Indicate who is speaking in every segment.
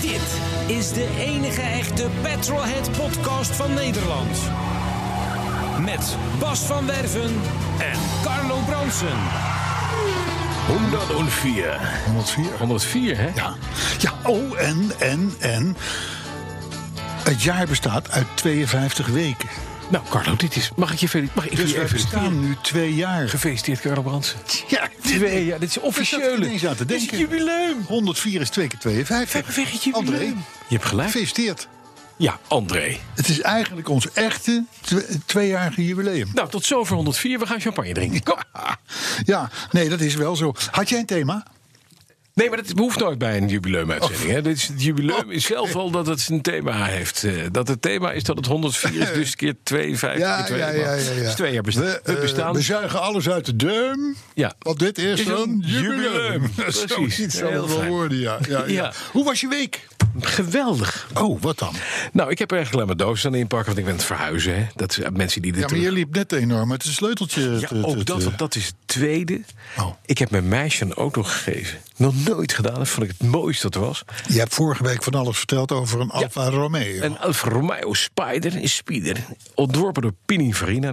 Speaker 1: Dit is de enige echte Petrolhead podcast van Nederland. Met Bas van Werven en Carlo Bronsen.
Speaker 2: 104.
Speaker 3: 104.
Speaker 2: 104, hè?
Speaker 3: Ja. ja, oh, en, en, en. Het jaar bestaat uit 52 weken.
Speaker 2: Nou, Carlo, dit is. Mag ik je, fel- mag ik
Speaker 3: Dus
Speaker 2: je
Speaker 3: we
Speaker 2: feliciteren?
Speaker 3: bestaan nu twee jaar.
Speaker 2: Gefeliciteerd, Carlo Brandsen.
Speaker 3: Ja,
Speaker 2: Twee jaar, dit is
Speaker 3: Ik zat
Speaker 2: officiële.
Speaker 3: ineens aan te
Speaker 2: Dit is het
Speaker 3: denken.
Speaker 2: jubileum.
Speaker 3: 104 is 2 keer
Speaker 2: Kijk,
Speaker 3: 52.
Speaker 2: weg het jubileum.
Speaker 3: André,
Speaker 2: Je hebt gelijk.
Speaker 3: gefeliciteerd.
Speaker 2: Ja, André.
Speaker 3: Het is eigenlijk ons echte twe- tweejarige jubileum.
Speaker 2: Nou, tot zover 104. We gaan champagne drinken. Kom.
Speaker 3: Ja, nee, dat is wel zo. Had jij een thema?
Speaker 2: Nee, maar dat hoeft nooit bij een jubileumuitzending.
Speaker 3: Oh.
Speaker 2: Hè? Dit is het jubileum is zelf al dat het een thema heeft. Eh, Dat het thema is dat het 104 is, dus keer 2, 5, keer 2. Dus twee jaar besta-
Speaker 3: we,
Speaker 2: we
Speaker 3: eh,
Speaker 2: bestaan.
Speaker 3: we zuigen alles uit de duim.
Speaker 2: Ja.
Speaker 3: Want dit is,
Speaker 2: Is
Speaker 3: een,
Speaker 2: een
Speaker 3: jubileum.
Speaker 2: jubileum. Precies.
Speaker 3: Zoiets
Speaker 2: Heel
Speaker 3: zal het
Speaker 2: fijn.
Speaker 3: worden, ja. Ja, ja.
Speaker 2: Ja.
Speaker 3: Hoe was je week?
Speaker 2: Geweldig.
Speaker 3: Oh, wat dan?
Speaker 2: Nou, ik heb er eigenlijk alleen maar dozen aan inpakken, want ik ben aan het verhuizen. Hè? Dat zijn mensen die dit
Speaker 3: Ja, maar je liep net enorm met een sleuteltje.
Speaker 2: Ja,
Speaker 3: te- te-
Speaker 2: ook dat,
Speaker 3: te-
Speaker 2: want dat is het tweede.
Speaker 3: eh, Oh.
Speaker 2: Ik heb mijn meisje een auto gegeven. Nog nooit gedaan, dat vond ik het mooiste dat er was.
Speaker 3: Je hebt vorige week van alles verteld over een Alfa Romeo.
Speaker 2: Een Alfa Romeo Spider is Spider. Ontworpen door Pininfarina,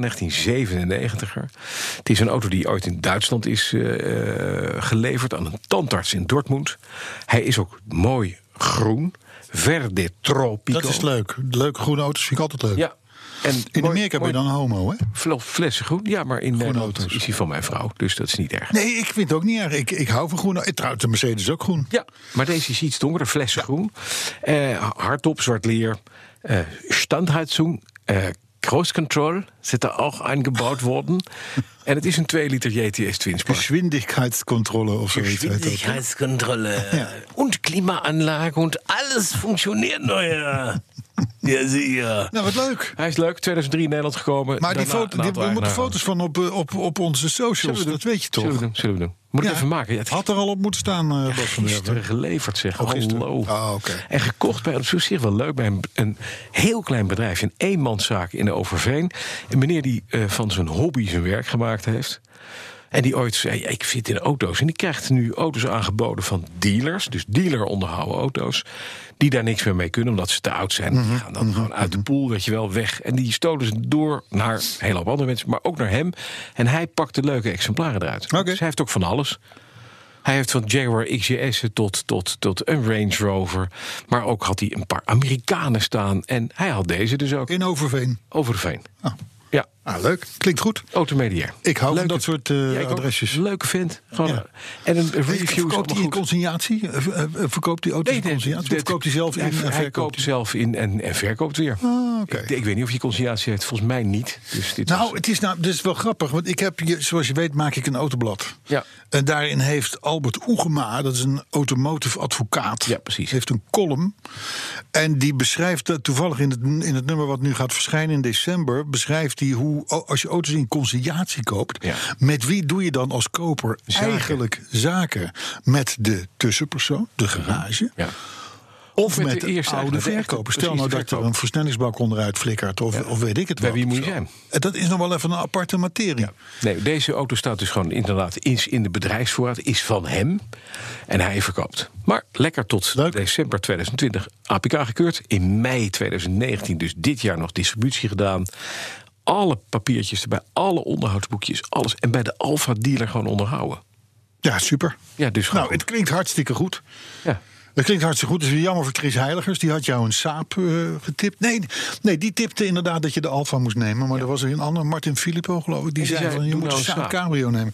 Speaker 2: 1997er. Het is een auto die ooit in Duitsland is eh, eh, geleverd aan een tandarts in Dortmund. Hij is ook mooi groen. Verde tropico.
Speaker 3: dat is leuk. Leuke groene auto's vind ik altijd leuk.
Speaker 2: Ja. En
Speaker 3: In
Speaker 2: mooi-
Speaker 3: Amerika ben
Speaker 2: mooi-
Speaker 3: je dan een homo, hè?
Speaker 2: Fle- flessen groen, ja, maar in Nederland
Speaker 3: auto's.
Speaker 2: is hij van mijn vrouw. Dus dat is niet erg.
Speaker 3: Nee, ik vind het ook niet erg. Ik, ik hou van groen. Eh, Trouwens, de Mercedes is ook groen.
Speaker 2: Ja, maar deze is iets donkerder, flessen groen. Eh, hardop, zwart leer. Eh, standheizung. eh, cruise control zit er ook aangebouwd worden. en het is een 2 liter JTS Twinspark.
Speaker 3: Geschwindigheidscontrole of zoiets. heet dat.
Speaker 2: Geschwindigkeitskontrolle.
Speaker 3: Ja.
Speaker 2: En klimaanlage. En alles functioneert nu. Ja, zie je.
Speaker 3: Nou, wat leuk.
Speaker 2: Hij is leuk, 2003 in Nederland gekomen.
Speaker 3: Maar die
Speaker 2: Daarna
Speaker 3: foto,
Speaker 2: een
Speaker 3: die-
Speaker 2: aantal
Speaker 3: we moeten
Speaker 2: eigenaren.
Speaker 3: foto's van op, eh, op, op onze
Speaker 2: Zullen
Speaker 3: socials.
Speaker 2: we doen?
Speaker 3: Dat weet je toch?
Speaker 2: Zullen we doen? Zullen we doen? Moet ik
Speaker 3: Ja.
Speaker 2: even maken. Ja, het
Speaker 3: Had er al op moeten staan, eh Bas van der Werf.
Speaker 2: Gisteren geleverd, zeg.
Speaker 3: Oh, gisteren.
Speaker 2: Hallo.
Speaker 3: Ah, oké.
Speaker 2: En gekocht bij, dat is op zich wel leuk, bij een, een heel klein bedrijf. Een eenmanszaak in de Overveen. Een meneer die eh, van zijn hobby zijn werk gemaakt heeft. En die ooit zei, ik zit in auto's. En die krijgt nu auto's aangeboden van dealers. Dus dealer onderhouden auto's. Die daar niks meer mee kunnen, omdat ze te oud zijn.
Speaker 3: Mhm.
Speaker 2: Die gaan dan gewoon uit de pool, weet je wel, weg. En die stoten ze door naar een hele hoop andere mensen. Maar ook naar hem. En hij pakt de leuke exemplaren eruit.
Speaker 3: Oké.
Speaker 2: Dus hij heeft ook van alles. Hij heeft van Jaguar XJS tot, tot, tot een Range Rover. Maar ook had hij een paar Amerikanen staan. En hij had deze dus ook.
Speaker 3: In Overveen.
Speaker 2: Over de veen.
Speaker 3: Ah.
Speaker 2: Ja,
Speaker 3: ah, leuk. Klinkt goed.
Speaker 2: automedia.
Speaker 3: Ik hou van dat soort, eh,
Speaker 2: ik ook.
Speaker 3: adresjes.
Speaker 2: Leuke vent. Gewoon,
Speaker 3: Ja.
Speaker 2: En een review is
Speaker 3: Verkoopt hij in
Speaker 2: allemaal goed.
Speaker 3: consignatie? Eh, eh, Verkoopt die auto's in consignatie? Of
Speaker 2: dit-
Speaker 3: verkoopt hij zelf in?
Speaker 2: hij,
Speaker 3: en
Speaker 2: hij
Speaker 3: verkoopt
Speaker 2: koopt
Speaker 3: hij?
Speaker 2: zelf in en, en verkoopt weer.
Speaker 3: Ah, oké.
Speaker 2: ik, ik weet niet of je conciliatie heeft. Volgens mij niet. Dus dit was-
Speaker 3: Nou, het is, nou, dit is wel grappig, want ik heb, je- zoals je weet, maak ik een autoblad.
Speaker 2: Ja.
Speaker 3: En daarin heeft Albert Oegema, dat is een automotive advocaat,
Speaker 2: Ja, precies.
Speaker 3: heeft een column. En die beschrijft eh, toevallig in het, in het nummer wat nu gaat verschijnen in december, beschrijft hij hoe o- als je auto's in conciliatie koopt,
Speaker 2: Ja.
Speaker 3: met wie doe je dan als koper
Speaker 2: Zaken.
Speaker 3: eigenlijk zaken? Met de tussenpersoon, de garage.
Speaker 2: ja.
Speaker 3: Of
Speaker 2: met
Speaker 3: met,
Speaker 2: de
Speaker 3: de,
Speaker 2: eerste
Speaker 3: oude
Speaker 2: eigenaar.
Speaker 3: verkoper. Stel
Speaker 2: Precies,
Speaker 3: nou
Speaker 2: de
Speaker 3: dat er
Speaker 2: verkoper.
Speaker 3: een versnellingsbak onderuit flikkert. Of, of weet ik het
Speaker 2: Bij
Speaker 3: wat,
Speaker 2: wie
Speaker 3: of
Speaker 2: moet je
Speaker 3: zo.
Speaker 2: zijn?
Speaker 3: En Dat is nog wel even een aparte materie.
Speaker 2: Nee, deze auto staat dus gewoon inderdaad is in de bedrijfsvoorraad, is van hem. En hij verkoopt. Maar lekker tot
Speaker 3: Leuk.
Speaker 2: december 2020 APK gekeurd. In mei 2019, dus dit jaar nog distributie gedaan. Alle papiertjes erbij, alle onderhoudsboekjes, alles. En bij de Alfa dealer gewoon onderhouden.
Speaker 3: Ja, super.
Speaker 2: Ja, dus gewoon.
Speaker 3: Nou, het klinkt hartstikke goed.
Speaker 2: ja.
Speaker 3: Het klinkt hartstikke goed. Het is weer jammer voor Chris Heiligers. Die had jou een saap eh, getipt. Nee, nee, die tipte inderdaad dat je de Alfa moest nemen. Maar er was er een ander, Martin Filippo geloof ik. Die,
Speaker 2: En die
Speaker 3: zei,
Speaker 2: zei,
Speaker 3: van, je
Speaker 2: doe
Speaker 3: moet
Speaker 2: nou
Speaker 3: een
Speaker 2: een
Speaker 3: saap
Speaker 2: Saab.
Speaker 3: cabrio nemen.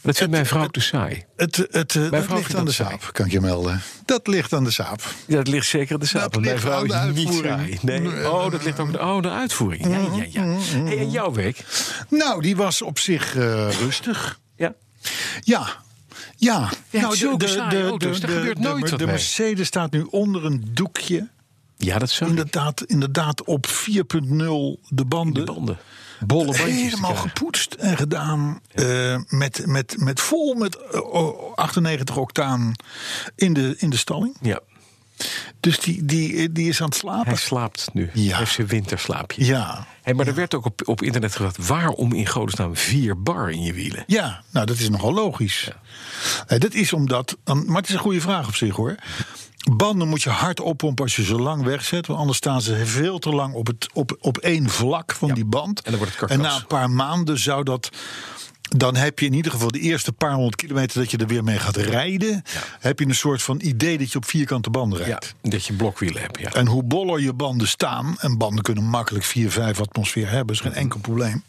Speaker 2: Dat vindt mijn vrouw
Speaker 3: het-
Speaker 2: te saai.
Speaker 3: Het, het, eh, dat
Speaker 2: vrouw
Speaker 3: ligt
Speaker 2: vindt
Speaker 3: aan de
Speaker 2: dat
Speaker 3: saap, kan ik je melden. Dat ligt aan de saap.
Speaker 2: Ja, dat ligt zeker aan de zaal.
Speaker 3: Dat
Speaker 2: want Mijn
Speaker 3: ligt
Speaker 2: vrouw
Speaker 3: aan
Speaker 2: is
Speaker 3: de
Speaker 2: niet saai.
Speaker 3: uitvoering.
Speaker 2: Nee. Mm, Oh, dat ligt ook aan de, oh, de uitvoering. Ja, ja, ja. Hey, en jouw week?
Speaker 3: Nou, die was op zich eh, rustig.
Speaker 2: Ja.
Speaker 3: Ja. Ja, Nou,
Speaker 2: Ja, zulke saaie auto's, daar gebeurt
Speaker 3: de-
Speaker 2: nooit
Speaker 3: de,
Speaker 2: wat
Speaker 3: de
Speaker 2: mee.
Speaker 3: Mercedes staat nu onder een doekje.
Speaker 2: Ja, dat zou
Speaker 3: Inderdaad, inderdaad op 4.0 de banden.
Speaker 2: de banden.
Speaker 3: Bolle
Speaker 2: bandjes te
Speaker 3: Helemaal
Speaker 2: krijgen.
Speaker 3: gepoetst en gedaan. eh, met, met, met vol met eh, o- 98 octaan in de, in de stalling.
Speaker 2: Ja,
Speaker 3: Dus die, die, die is aan het slapen.
Speaker 2: hij slaapt nu.
Speaker 3: Ja.
Speaker 2: Hij heeft zijn winterslaapje.
Speaker 3: Ja.
Speaker 2: Hé, maar er werd ook op, op internet gevraagd... waarom in godesnaam vier bar in je wielen?
Speaker 3: Ja, nou dat is nogal logisch. Eh, dat is omdat, an- maar het is een goede vraag op zich hoor. Banden moet je hard oppompen als je ze lang wegzet. Want anders staan ze veel te lang op, het, op, op één vlak van die band.
Speaker 2: en dan wordt het karkas.
Speaker 3: na een paar maanden zou dat... Dan heb je in ieder geval de eerste paar honderd kilometer dat je er weer mee gaat rijden. Heb je een soort van idee dat je op vierkante banden rijdt.
Speaker 2: Dat je blokwielen hebt, ja.
Speaker 3: En hoe boller je banden staan, en banden kunnen makkelijk 4, 5 atmosfeer hebben, is geen enkel probleem.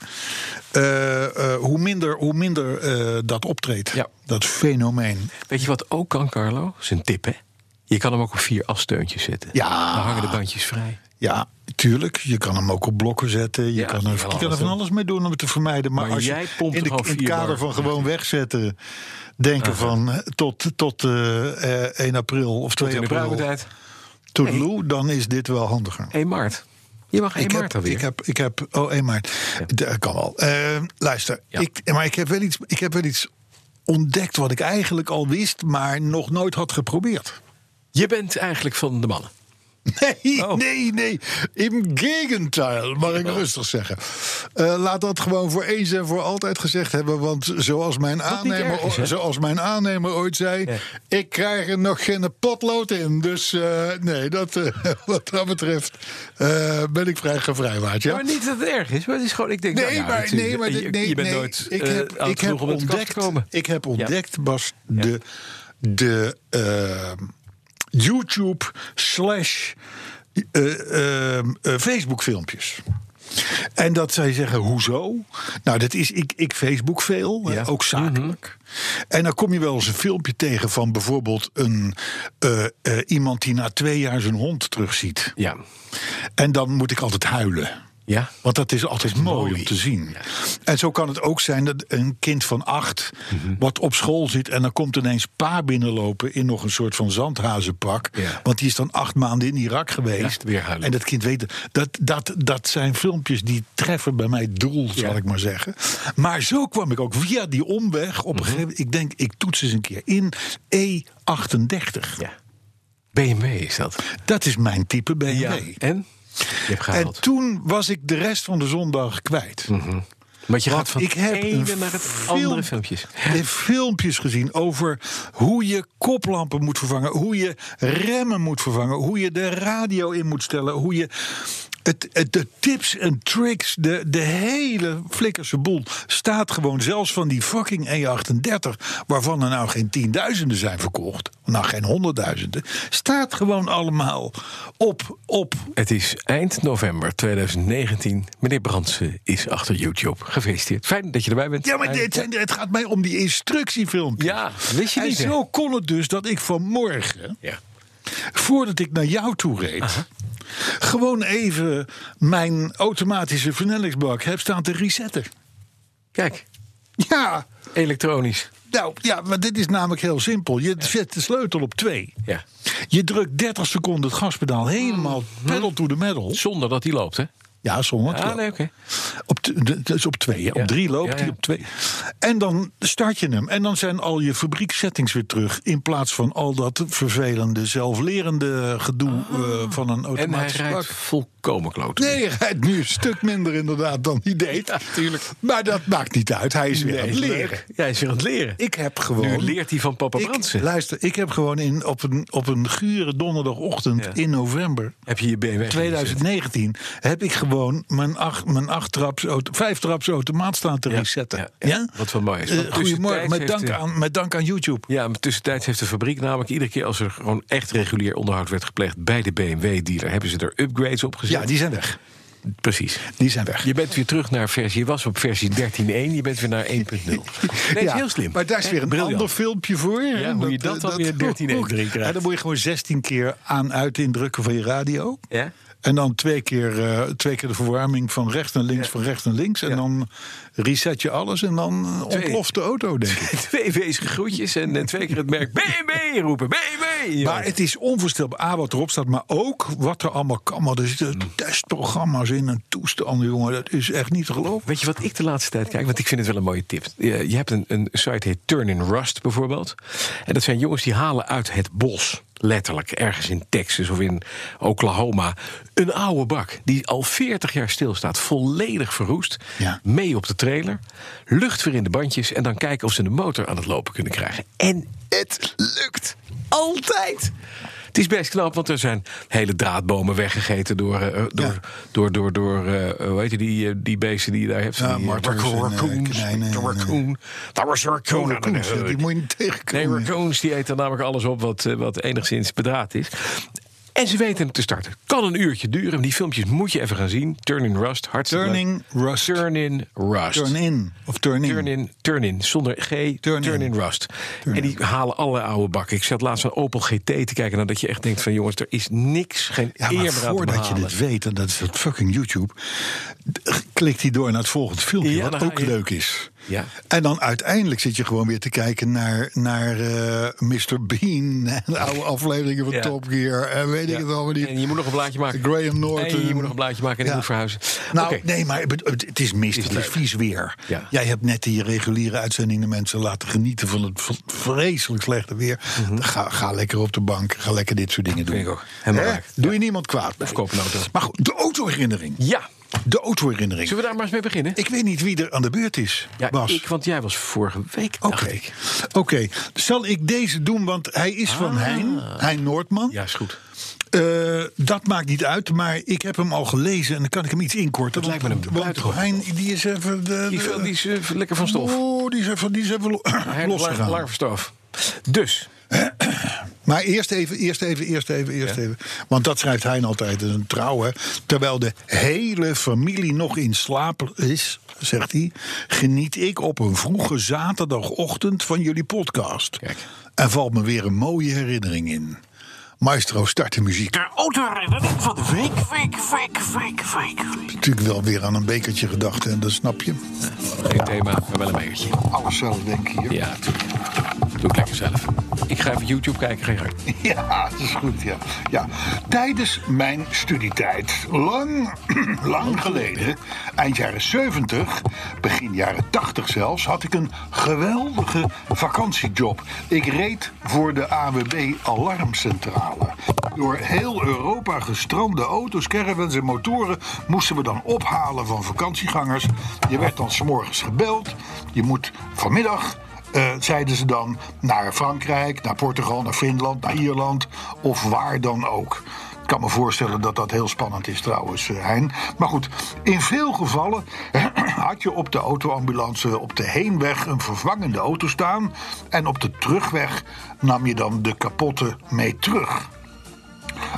Speaker 3: eh, eh, hoe minder, hoe minder eh, dat optreedt,
Speaker 2: Ja.
Speaker 3: dat fenomeen.
Speaker 2: Weet je wat ook kan, Carlo? Is een tip, hè? Je kan hem ook op vier afsteuntjes zetten.
Speaker 3: Ja.
Speaker 2: Dan hangen de bandjes vrij.
Speaker 3: Ja, tuurlijk, je kan hem ook op blokken zetten. Je
Speaker 2: Ja,
Speaker 3: kan
Speaker 2: je
Speaker 3: er,
Speaker 2: kan
Speaker 3: je kan er
Speaker 2: alles
Speaker 3: van
Speaker 2: doen.
Speaker 3: alles mee doen om het te vermijden. Maar,
Speaker 2: Maar
Speaker 3: als
Speaker 2: jij
Speaker 3: je
Speaker 2: pompt
Speaker 3: in, de,
Speaker 2: er gewoon
Speaker 3: in het
Speaker 2: vier
Speaker 3: kader
Speaker 2: bar
Speaker 3: van gewoon wegzetten, denken van eh, tot, tot eh, eh, 1 april of 2
Speaker 2: Tot in de
Speaker 3: april,
Speaker 2: pruimentijd.
Speaker 3: toedeloe, dan is dit wel handiger.
Speaker 2: 1 maart. Je mag 1
Speaker 3: Ik
Speaker 2: maart
Speaker 3: heb,
Speaker 2: alweer.
Speaker 3: ik heb, ik heb, oh 1 maart.
Speaker 2: Ja.
Speaker 3: Dat kan wel. Eh, luister,
Speaker 2: Ja.
Speaker 3: ik, maar ik heb, wel iets, ik heb wel iets ontdekt wat ik eigenlijk al wist, maar nog nooit had geprobeerd.
Speaker 2: Je bent eigenlijk van de mannen.
Speaker 3: Nee,
Speaker 2: Oh.
Speaker 3: nee, nee. Im gegenteil, mag ik rustig zeggen. Eh, laat dat gewoon voor eens en voor altijd gezegd hebben. Want zoals mijn, aannemer,
Speaker 2: erg is, hè?
Speaker 3: zoals mijn aannemer ooit zei... ik krijg er nog geen potlood in. Dus eh, nee, dat, eh, wat dat betreft eh, ben ik vrij gevrijwaard. Ja?
Speaker 2: Maar niet dat het erg is. Maar het is gewoon, ik denk,
Speaker 3: Nee,
Speaker 2: nou ja,
Speaker 3: maar,
Speaker 2: natuurlijk,
Speaker 3: nee, maar
Speaker 2: je,
Speaker 3: dit- nee,
Speaker 2: je bent
Speaker 3: nee,
Speaker 2: nooit
Speaker 3: ik
Speaker 2: eh,
Speaker 3: heb,
Speaker 2: oud
Speaker 3: ik heb
Speaker 2: genoeg om uit de kast
Speaker 3: ontdekt,
Speaker 2: te komen.
Speaker 3: Ik heb ontdekt, Bas, de, de ehm, YouTube slash eh, ehm, eh, Facebook filmpjes. En dat zij zeggen, hoezo? Nou, dat is, ik, ik Facebook veel, hè,
Speaker 2: Ja. Mhm.
Speaker 3: ook zakelijk. En dan kom je wel eens een filmpje tegen van bijvoorbeeld een, eh, eh, iemand die na twee jaar zijn hond terugziet.
Speaker 2: Ja.
Speaker 3: En dan moet ik altijd huilen.
Speaker 2: Ja.
Speaker 3: Want dat is altijd mooi,
Speaker 2: mooi.
Speaker 3: om te zien. En zo kan het ook zijn dat een kind van acht...
Speaker 2: Mhm.
Speaker 3: wat op school zit en dan komt ineens pa binnenlopen... in nog een soort van zandhazenpak.
Speaker 2: Ja.
Speaker 3: Want die is dan acht maanden in Irak geweest.
Speaker 2: Ja, weer huilen.
Speaker 3: en dat kind weet... Dat, dat, dat zijn filmpjes die treffen bij mij het doel, zal ik maar zeggen. Maar zo kwam ik ook via die omweg op
Speaker 2: Mhm.
Speaker 3: een gegeven moment... ik denk, ik toets eens een keer in E E38.
Speaker 2: ja. BMW is dat.
Speaker 3: Dat is mijn type BMW.
Speaker 2: En? Je hebt
Speaker 3: En
Speaker 2: gehaald.
Speaker 3: toen was ik de rest van de zondag kwijt.
Speaker 2: Want je
Speaker 3: Want
Speaker 2: gaat van
Speaker 3: ik heb
Speaker 2: het ene
Speaker 3: een
Speaker 2: naar het
Speaker 3: film-
Speaker 2: andere filmpjes.
Speaker 3: de filmpjes gezien over hoe je koplampen moet vervangen, hoe je remmen moet vervangen, hoe je de radio in moet stellen, hoe je het, het- de tips en tricks, de, de hele flikkerse boel staat gewoon zelfs van die fucking E38, waarvan er nou geen tienduizenden zijn verkocht, nou geen honderdduizenden, staat gewoon allemaal op, op.
Speaker 2: Het is eind november 2019. Meneer Brandsen is achter YouTube. Gefeliciteerd. Fijn dat je erbij bent.
Speaker 3: Ja, maar dit zijn- het gaat mij om die instructiefilmpjes.
Speaker 2: Ja, wist je
Speaker 3: En
Speaker 2: niet, hè?
Speaker 3: zo kon het dus dat ik vanmorgen
Speaker 2: Ja.
Speaker 3: voordat ik naar jou toe reed. Gewoon even mijn automatische versnellingsbak heb staan te resetten.
Speaker 2: Kijk,
Speaker 3: Ja,
Speaker 2: elektronisch.
Speaker 3: nou ja, maar dit is namelijk heel simpel. Je zet de sleutel op twee.
Speaker 2: Ja.
Speaker 3: Je drukt 30 seconden het gaspedaal helemaal
Speaker 2: Mhm.
Speaker 3: pedal to the metal.
Speaker 2: Zonder dat hij loopt, hè?
Speaker 3: Ja, zonder
Speaker 2: Ah, nee, oké.
Speaker 3: Op t- de- dat is op twee, hè?
Speaker 2: Ja.
Speaker 3: op drie loopt
Speaker 2: Ja, ja.
Speaker 3: hij, op twee. En dan start je hem. En dan zijn al je fabrieksettings weer terug. In plaats van al dat vervelende, zelflerende gedoe eh, van een
Speaker 2: Ah. En hij
Speaker 3: automatisch
Speaker 2: rijdt
Speaker 3: bak.
Speaker 2: volkomen kloot.
Speaker 3: Nee, hij rijdt nu een stuk minder inderdaad dan hij deed.
Speaker 2: tuurlijk.
Speaker 3: Maar dat maakt niet uit. Hij is weer aan het leren.
Speaker 2: leren. Ja, hij is weer aan het leren.
Speaker 3: Ik heb gewoon...
Speaker 2: Nu leert hij van papa
Speaker 3: Ik-
Speaker 2: Brandsen.
Speaker 3: Luister, ik heb gewoon in, op, een, op een gure donderdagochtend
Speaker 2: Ja.
Speaker 3: in november
Speaker 2: Heb je je BMW
Speaker 3: 2019 heb ik gewoon mijn acht, mijn acht traps, auto, vijf traps automaat staan te
Speaker 2: Ja,
Speaker 3: resetten.
Speaker 2: ja,
Speaker 3: Ja,
Speaker 2: ja. Wat wel mooi is.
Speaker 3: Eh,
Speaker 2: Want tussentijds
Speaker 3: goedemorgen, met
Speaker 2: heeft
Speaker 3: dank,
Speaker 2: de-
Speaker 3: aan, met dank aan YouTube.
Speaker 2: Ja, maar tussentijds heeft de fabriek namelijk iedere keer als er gewoon echt regulier onderhoud werd gepleegd bij de BMW-dealer, hebben ze er upgrades op gezet.
Speaker 3: Ja, die zijn weg.
Speaker 2: Precies.
Speaker 3: Die zijn weg.
Speaker 2: Je bent weer terug naar versie. Je was op versie 13.1, je bent weer naar 1.0. Nee, dat is
Speaker 3: Ja,
Speaker 2: heel slim.
Speaker 3: Maar daar is
Speaker 2: Hè?
Speaker 3: weer een
Speaker 2: Briljant.
Speaker 3: ander filmpje voor.
Speaker 2: Ja,
Speaker 3: En
Speaker 2: hoe je dat
Speaker 3: eh,
Speaker 2: dan weer 13 erin krijgt.
Speaker 3: Ja, dan moet je gewoon 16 keer aan uit indrukken van je radio.
Speaker 2: Ja?
Speaker 3: En dan twee keer, eh, twee keer de verwarming van rechts naar links, van rechts naar links. En dan reset je alles en dan eh,
Speaker 2: Twee.
Speaker 3: ontploft de auto, denk ik.
Speaker 2: Twee wezige groetjes en eh, twee keer het merk BMW roepen. BMW! Ja.
Speaker 3: Maar het is onvoorstelbaar, A, wat erop staat, maar ook wat er allemaal kan. Want er zitten
Speaker 2: Hmm.
Speaker 3: testprogramma's in en toestanden, jongen. Dat is echt niet te geloven.
Speaker 2: Weet je wat ik de laatste tijd kijk? Want ik vind het wel een mooie tip. Je, je hebt een, een site heet Turn in Rust bijvoorbeeld. En dat zijn jongens die halen uit het bos, letterlijk, ergens in Texas of in Oklahoma, een oude bak die al 40 jaar stilstaat, volledig verroest,
Speaker 3: Ja.
Speaker 2: mee op de trailer, lucht weer in de bandjes en dan kijken of ze de motor aan het lopen kunnen krijgen. En het lukt altijd. Het is best knap, want er zijn hele draadbomen weggegeten door, eh, door,
Speaker 3: Ja.
Speaker 2: door, door, door eh, hoe heet je die, eh, die beesten die je daar hebt?
Speaker 3: Ja,
Speaker 2: Die, eh,
Speaker 3: martens
Speaker 2: raccoon-
Speaker 3: en, eh,
Speaker 2: raccoons.
Speaker 3: konijnen en,
Speaker 2: De
Speaker 3: eh,
Speaker 2: raccoon. Daar was een raccoon aan de
Speaker 3: Raccoons, ja,
Speaker 2: hoed.
Speaker 3: die moet je niet tegenkomen.
Speaker 2: Nee, raccoons die eten namelijk alles op wat, eh, wat enigszins bedraad is. En ze weten het te starten. Kan een uurtje duren. Die filmpjes moet je even gaan zien. Turn in Rust. Hartstikke
Speaker 3: Turning
Speaker 2: leuk.
Speaker 3: Rust.
Speaker 2: Turn in Rust.
Speaker 3: Turn in. Of turn in.
Speaker 2: Turn in, turn in, zonder G, turn,
Speaker 3: Turn
Speaker 2: in.
Speaker 3: in.
Speaker 2: rust. en die halen alle oude bakken. Ik zat laatst een Opel GT te kijken, nadat je echt denkt van jongens, er is niks, geen
Speaker 3: Ja,
Speaker 2: eer
Speaker 3: maar
Speaker 2: meer aan te
Speaker 3: voordat je
Speaker 2: behalen.
Speaker 3: dit weet, en dat is dat fucking YouTube, d- klikt hij door naar het volgende filmpje,
Speaker 2: Ja, dan
Speaker 3: wat
Speaker 2: ga
Speaker 3: ook
Speaker 2: je-
Speaker 3: leuk is.
Speaker 2: Ja.
Speaker 3: En dan uiteindelijk zit je gewoon weer te kijken naar, naar eh, Mr. Bean en de oude afleveringen van
Speaker 2: Ja.
Speaker 3: Top Gear en weet ik
Speaker 2: Ja.
Speaker 3: het allemaal niet.
Speaker 2: En je moet nog een blaadje maken.
Speaker 3: Graham Norton.
Speaker 2: En je moet nog een blaadje maken en ik
Speaker 3: Ja.
Speaker 2: moet verhuizen.
Speaker 3: Nou,
Speaker 2: Oké.
Speaker 3: nee, maar het, het- het is mist, het is vies weer.
Speaker 2: Ja.
Speaker 3: Jij hebt net die reguliere uitzendingen mensen laten genieten van het v- vreselijk slechte weer. ga, ga lekker op de bank, ga lekker dit soort dingen doen.
Speaker 2: Mhm. Vind ik ook. Helemaal
Speaker 3: Hè?
Speaker 2: raakt.
Speaker 3: Doe je niemand kwaad.
Speaker 2: Of koop een auto.
Speaker 3: Maar goed, de autoherinnering.
Speaker 2: Ja,
Speaker 3: De autoherinnering.
Speaker 2: zullen we daar maar eens mee beginnen?
Speaker 3: Ik weet niet wie er aan de beurt is,
Speaker 2: ja,
Speaker 3: Bas.
Speaker 2: ik, want jij was vorige week.
Speaker 3: Oké,
Speaker 2: dacht ik.
Speaker 3: Oké. zal ik deze doen? Want hij is van Hein, Hein Noordman.
Speaker 2: Ah. Ja, is goed.
Speaker 3: Eh, dat maakt niet uit, maar ik heb hem al gelezen en dan kan ik hem iets inkorten.
Speaker 2: Dat lijkt me
Speaker 3: want-
Speaker 2: een
Speaker 3: want
Speaker 2: buitengewoon.
Speaker 3: Hein, die is even. De,
Speaker 2: Die,
Speaker 3: de-
Speaker 2: die is eh, lekker van stof.
Speaker 3: Oh, die is even, die is even lo-
Speaker 2: Hij
Speaker 3: losgegaan.
Speaker 2: lang van stof. Dus,
Speaker 3: Maar eerst even, eerst even, eerst even, eerst
Speaker 2: Ja.
Speaker 3: even. Want dat schrijft Hein altijd, dat is een trouw, hè. Terwijl de hele familie nog in slaap is, zegt hij... geniet ik op een vroege zaterdagochtend van jullie podcast.
Speaker 2: Kijk.
Speaker 3: En valt me weer een mooie herinnering in. Maestro, start de muziek.
Speaker 4: De autoherinnering van de week, week, week, week, week.
Speaker 3: Natuurlijk wel weer aan een bekertje gedacht, en dat snap je.
Speaker 2: geen thema, maar wel een bekertje.
Speaker 3: Alles zelf, denk ik. hier.
Speaker 2: Ja, natuurlijk. Doe ik lekker zelf. Ik ga even YouTube kijken, geen gang.
Speaker 3: Ja, dat is goed, ja. ja. Tijdens mijn studietijd, lang, lang geleden, eind jaren 70, begin jaren 80 zelfs, had ik een geweldige vakantiejob. Ik reed voor de AWB Alarmcentrale. Door heel Europa gestrande auto's, caravans en motoren moesten we dan ophalen van vakantiegangers. Je werd dan s'morgens gebeld. Je moet vanmiddag eh, zeiden ze dan naar Frankrijk, naar Portugal, naar Finland, naar Ierland of waar dan ook. Ik kan me voorstellen dat dat heel spannend is trouwens, eh, Hein. Maar goed, in veel gevallen had je op de autoambulance op de heenweg een vervangende auto staan. En op de terugweg nam je dan de kapotte mee terug.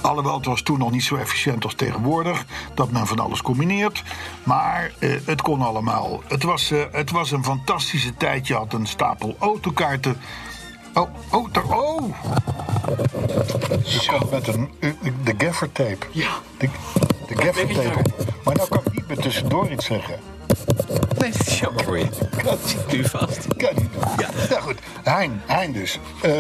Speaker 3: Alhoewel het was toen nog niet zo efficiënt als tegenwoordig, dat men van alles combineert. Maar eh, het kon allemaal. Het was, eh, het was een fantastische tijd. Je had een stapel autokaarten. Oh, oh, daar, oh! Zo, met een, eh, de gaffer tape. Ja. De, de gaffer tape. Maar nou kan ik niet meer tussendoor iets zeggen.
Speaker 2: Nee, dat is jammer voor je.
Speaker 3: Kan
Speaker 2: Zit nu vast.
Speaker 3: kan niet. Ja. Nou goed, Hein, Hein dus. Eh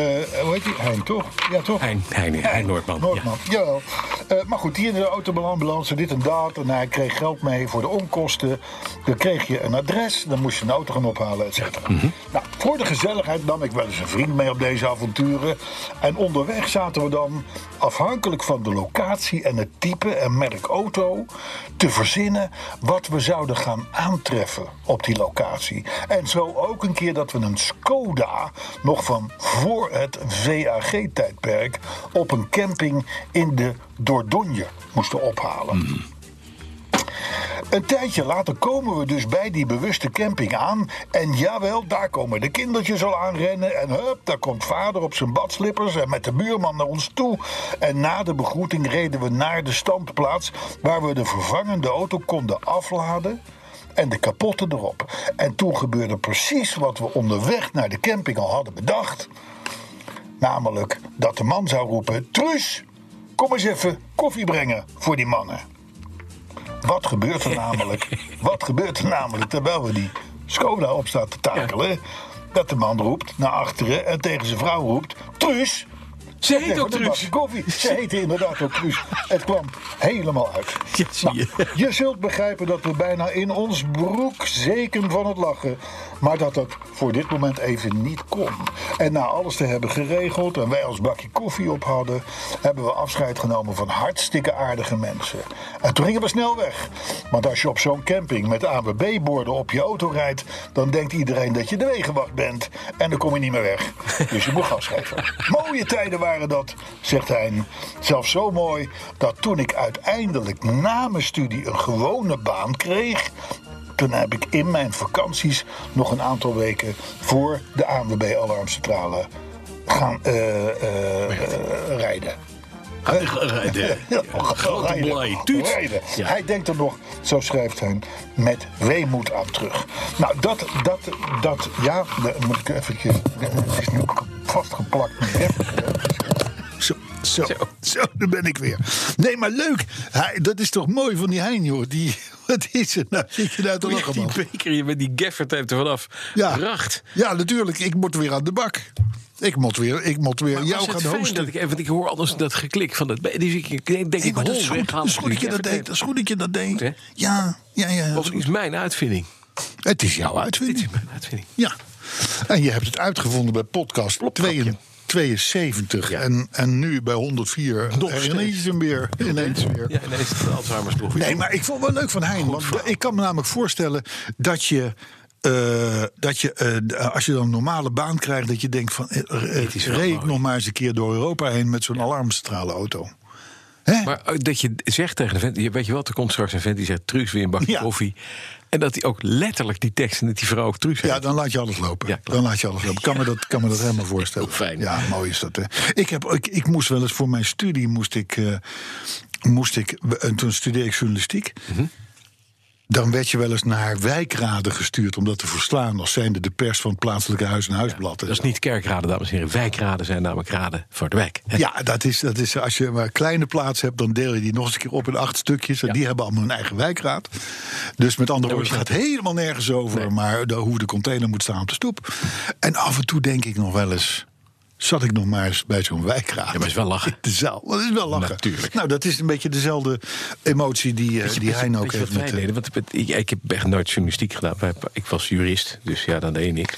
Speaker 3: hoe heet die? Hein, toch? Ja, toch?
Speaker 2: Hein, Hein, Hein Noordman,
Speaker 3: Noordman, jawel. Eh, maar goed, hier in de autoambulance, dit en dat. En hij kreeg geld mee voor de onkosten. Dan kreeg je een adres, dan moest je een auto gaan ophalen, et cetera. Nou, voor de gezelligheid nam ik wel eens een vriend mee op deze avonturen. En onderweg zaten we dan, afhankelijk van de locatie en het type en merk auto... te verzinnen wat we zouden gaan aantreffen op die locatie. En zo ook een keer dat we een Skoda, nog van voor het VAG-tijdperk, op een camping in de Dordogne moesten ophalen. Een tijdje later komen we dus bij die bewuste camping aan. En jawel, daar komen de kindertjes al aanrennen. En hup, daar komt vader op zijn badslippers en met de buurman naar ons toe. En na de begroeting reden we naar de standplaats waar we de vervangende auto konden afladen. En de kapotte erop. En toen gebeurde precies wat we onderweg naar de camping al hadden bedacht. Namelijk dat de man zou roepen: Truus, Kom eens even koffie brengen voor die mannen. Wat gebeurt er namelijk? Wat gebeurt er namelijk terwijl we die Skoda op staat te takelen? Dat de man roept naar achteren en tegen zijn vrouw roept: Truus!
Speaker 2: Ze heet
Speaker 3: Zeg,
Speaker 2: ook
Speaker 3: wat een
Speaker 2: Truus.
Speaker 3: bakje Koffie. Ze heette inderdaad ook Truus. Het kwam helemaal uit.
Speaker 2: Ja, zie je.
Speaker 3: Nou, je zult begrijpen dat we bijna in ons broek zeken van het lachen. Maar dat dat voor dit moment even niet kon. En na alles te hebben geregeld en wij ons bakje koffie op hadden... hebben we afscheid genomen van hartstikke aardige mensen. En toen gingen we snel weg. Want als je op zo'n camping met AWB-borden op je auto rijdt... dan denkt iedereen dat je de wegenwacht bent. En dan kom je niet meer weg. Dus je moet gas geven. Mooie tijden waren dat, zegt Hein. Zelfs zo mooi dat toen ik uiteindelijk na mijn studie een gewone baan kreeg. Toen heb ik in mijn vakanties nog een aantal weken voor de ANWB Alarmcentrale gaan eh, eh, eh, rijden.
Speaker 5: Rijden. Grote
Speaker 3: Rijden.
Speaker 5: blij. Tuut.
Speaker 3: Rijden.
Speaker 5: Ja.
Speaker 3: Hij denkt er nog, zo schrijft hij, met weemoed aan terug. Nou, dat, dat, dat, ja, dan moet ik eventjes, het is nu vastgeplakt. Zo, zo, zo, daar ben ik weer. Nee, maar leuk. Hij, dat is toch mooi van die Hein, joh. Die, wat is er nou? Zit je nou te lachen,
Speaker 2: Die
Speaker 3: man?
Speaker 2: beker hier met die Gaffert heeft er vanaf.
Speaker 3: Ja.
Speaker 2: Racht.
Speaker 3: Ja, natuurlijk. Ik moet weer aan de bak. Ik moet weer, ik moet weer
Speaker 2: Maar
Speaker 3: jou
Speaker 2: was het
Speaker 3: gaan
Speaker 2: fijn
Speaker 3: hosten.
Speaker 2: dat ik even, want ik hoor anders dat geklik van dat. Dus ik ik denk,
Speaker 3: Nee,
Speaker 2: ik
Speaker 3: maar dat is
Speaker 2: hol
Speaker 3: goed.
Speaker 2: weg
Speaker 3: Dat
Speaker 2: halen.
Speaker 3: is goed dat je dat deed. Dat is goed dat je dat deed.
Speaker 2: hè?
Speaker 3: Ja, ja, ja. dat is
Speaker 2: Of het
Speaker 3: goed.
Speaker 2: is mijn uitvinding.
Speaker 3: Het is jouw
Speaker 2: Dit is
Speaker 3: uitvinding.
Speaker 2: mijn uitvinding.
Speaker 3: Ja. En je hebt het uitgevonden bij podcast
Speaker 2: Plopkapje.
Speaker 3: 2 72.
Speaker 2: Ja.
Speaker 3: En, en nu bij 104.
Speaker 2: Nog
Speaker 3: ineens
Speaker 2: steeds.
Speaker 3: hem weer. Ineens weer.
Speaker 2: Ja, nee, het is de Alzheimer's ploeg.
Speaker 3: Nee, maar ik vond het wel leuk van Hein. Want ik kan me namelijk voorstellen dat je. eh, dat je, eh, d- als je dan een normale baan krijgt, dat je denkt van... eh, eh,
Speaker 2: is wel
Speaker 3: reed ik
Speaker 2: mooi.
Speaker 3: nog maar eens een keer door Europa heen met zo'n alarmcentraleauto. Hè?
Speaker 2: Maar eh, dat je zegt tegen de vent, je weet je wel, er komt straks een vent die zegt truus weer een bakje
Speaker 3: Ja.
Speaker 2: koffie. En dat hij ook letterlijk die tekst en dat die vrouw ook truus
Speaker 3: Ja,
Speaker 2: heet.
Speaker 3: dan laat je alles lopen.
Speaker 2: Ja, klopt.
Speaker 3: dan laat je alles lopen. Kan me dat, kan me dat helemaal voorstellen.
Speaker 2: Heel fijn.
Speaker 3: Ja, mooi is dat. Hè. Ik, heb, ik, ik moest wel eens voor mijn studie moest ik, eh, moest ik en toen studeerde ik journalistiek.
Speaker 2: Mhm.
Speaker 3: Dan werd je wel eens naar wijkraden gestuurd om dat te verslaan als zijnde de pers van het plaatselijke huis en huisblad. en
Speaker 2: Dat is
Speaker 3: zo.
Speaker 2: niet kerkraden, dames en heren. Wijkraden zijn namelijk raden voor de wijk. hè.
Speaker 3: Ja, dat is, dat is als je maar een kleine plaats hebt, dan deel je die nog eens een keer op in acht stukjes. En die hebben allemaal hun eigen wijkraad. Dus met andere woorden, het gaat helemaal nergens over. Maar de, hoe de container moet staan op de stoep. En af en toe denk ik nog wel eens. Zat ik nog maar eens bij zo'n wijkraad. Ja,
Speaker 2: maar het is wel lachen.
Speaker 3: De zaal. Dat is wel lachen.
Speaker 2: Natuurlijk.
Speaker 3: Nou, dat is een beetje dezelfde emotie die, eh, die Hein ook
Speaker 2: Weet je wat
Speaker 3: heeft.
Speaker 2: wij
Speaker 3: Met, eh,
Speaker 2: deden? Want het- ik, ik heb echt nooit journalistiek gedaan. Wij- Ik was jurist, dus ja, dan deed je niks.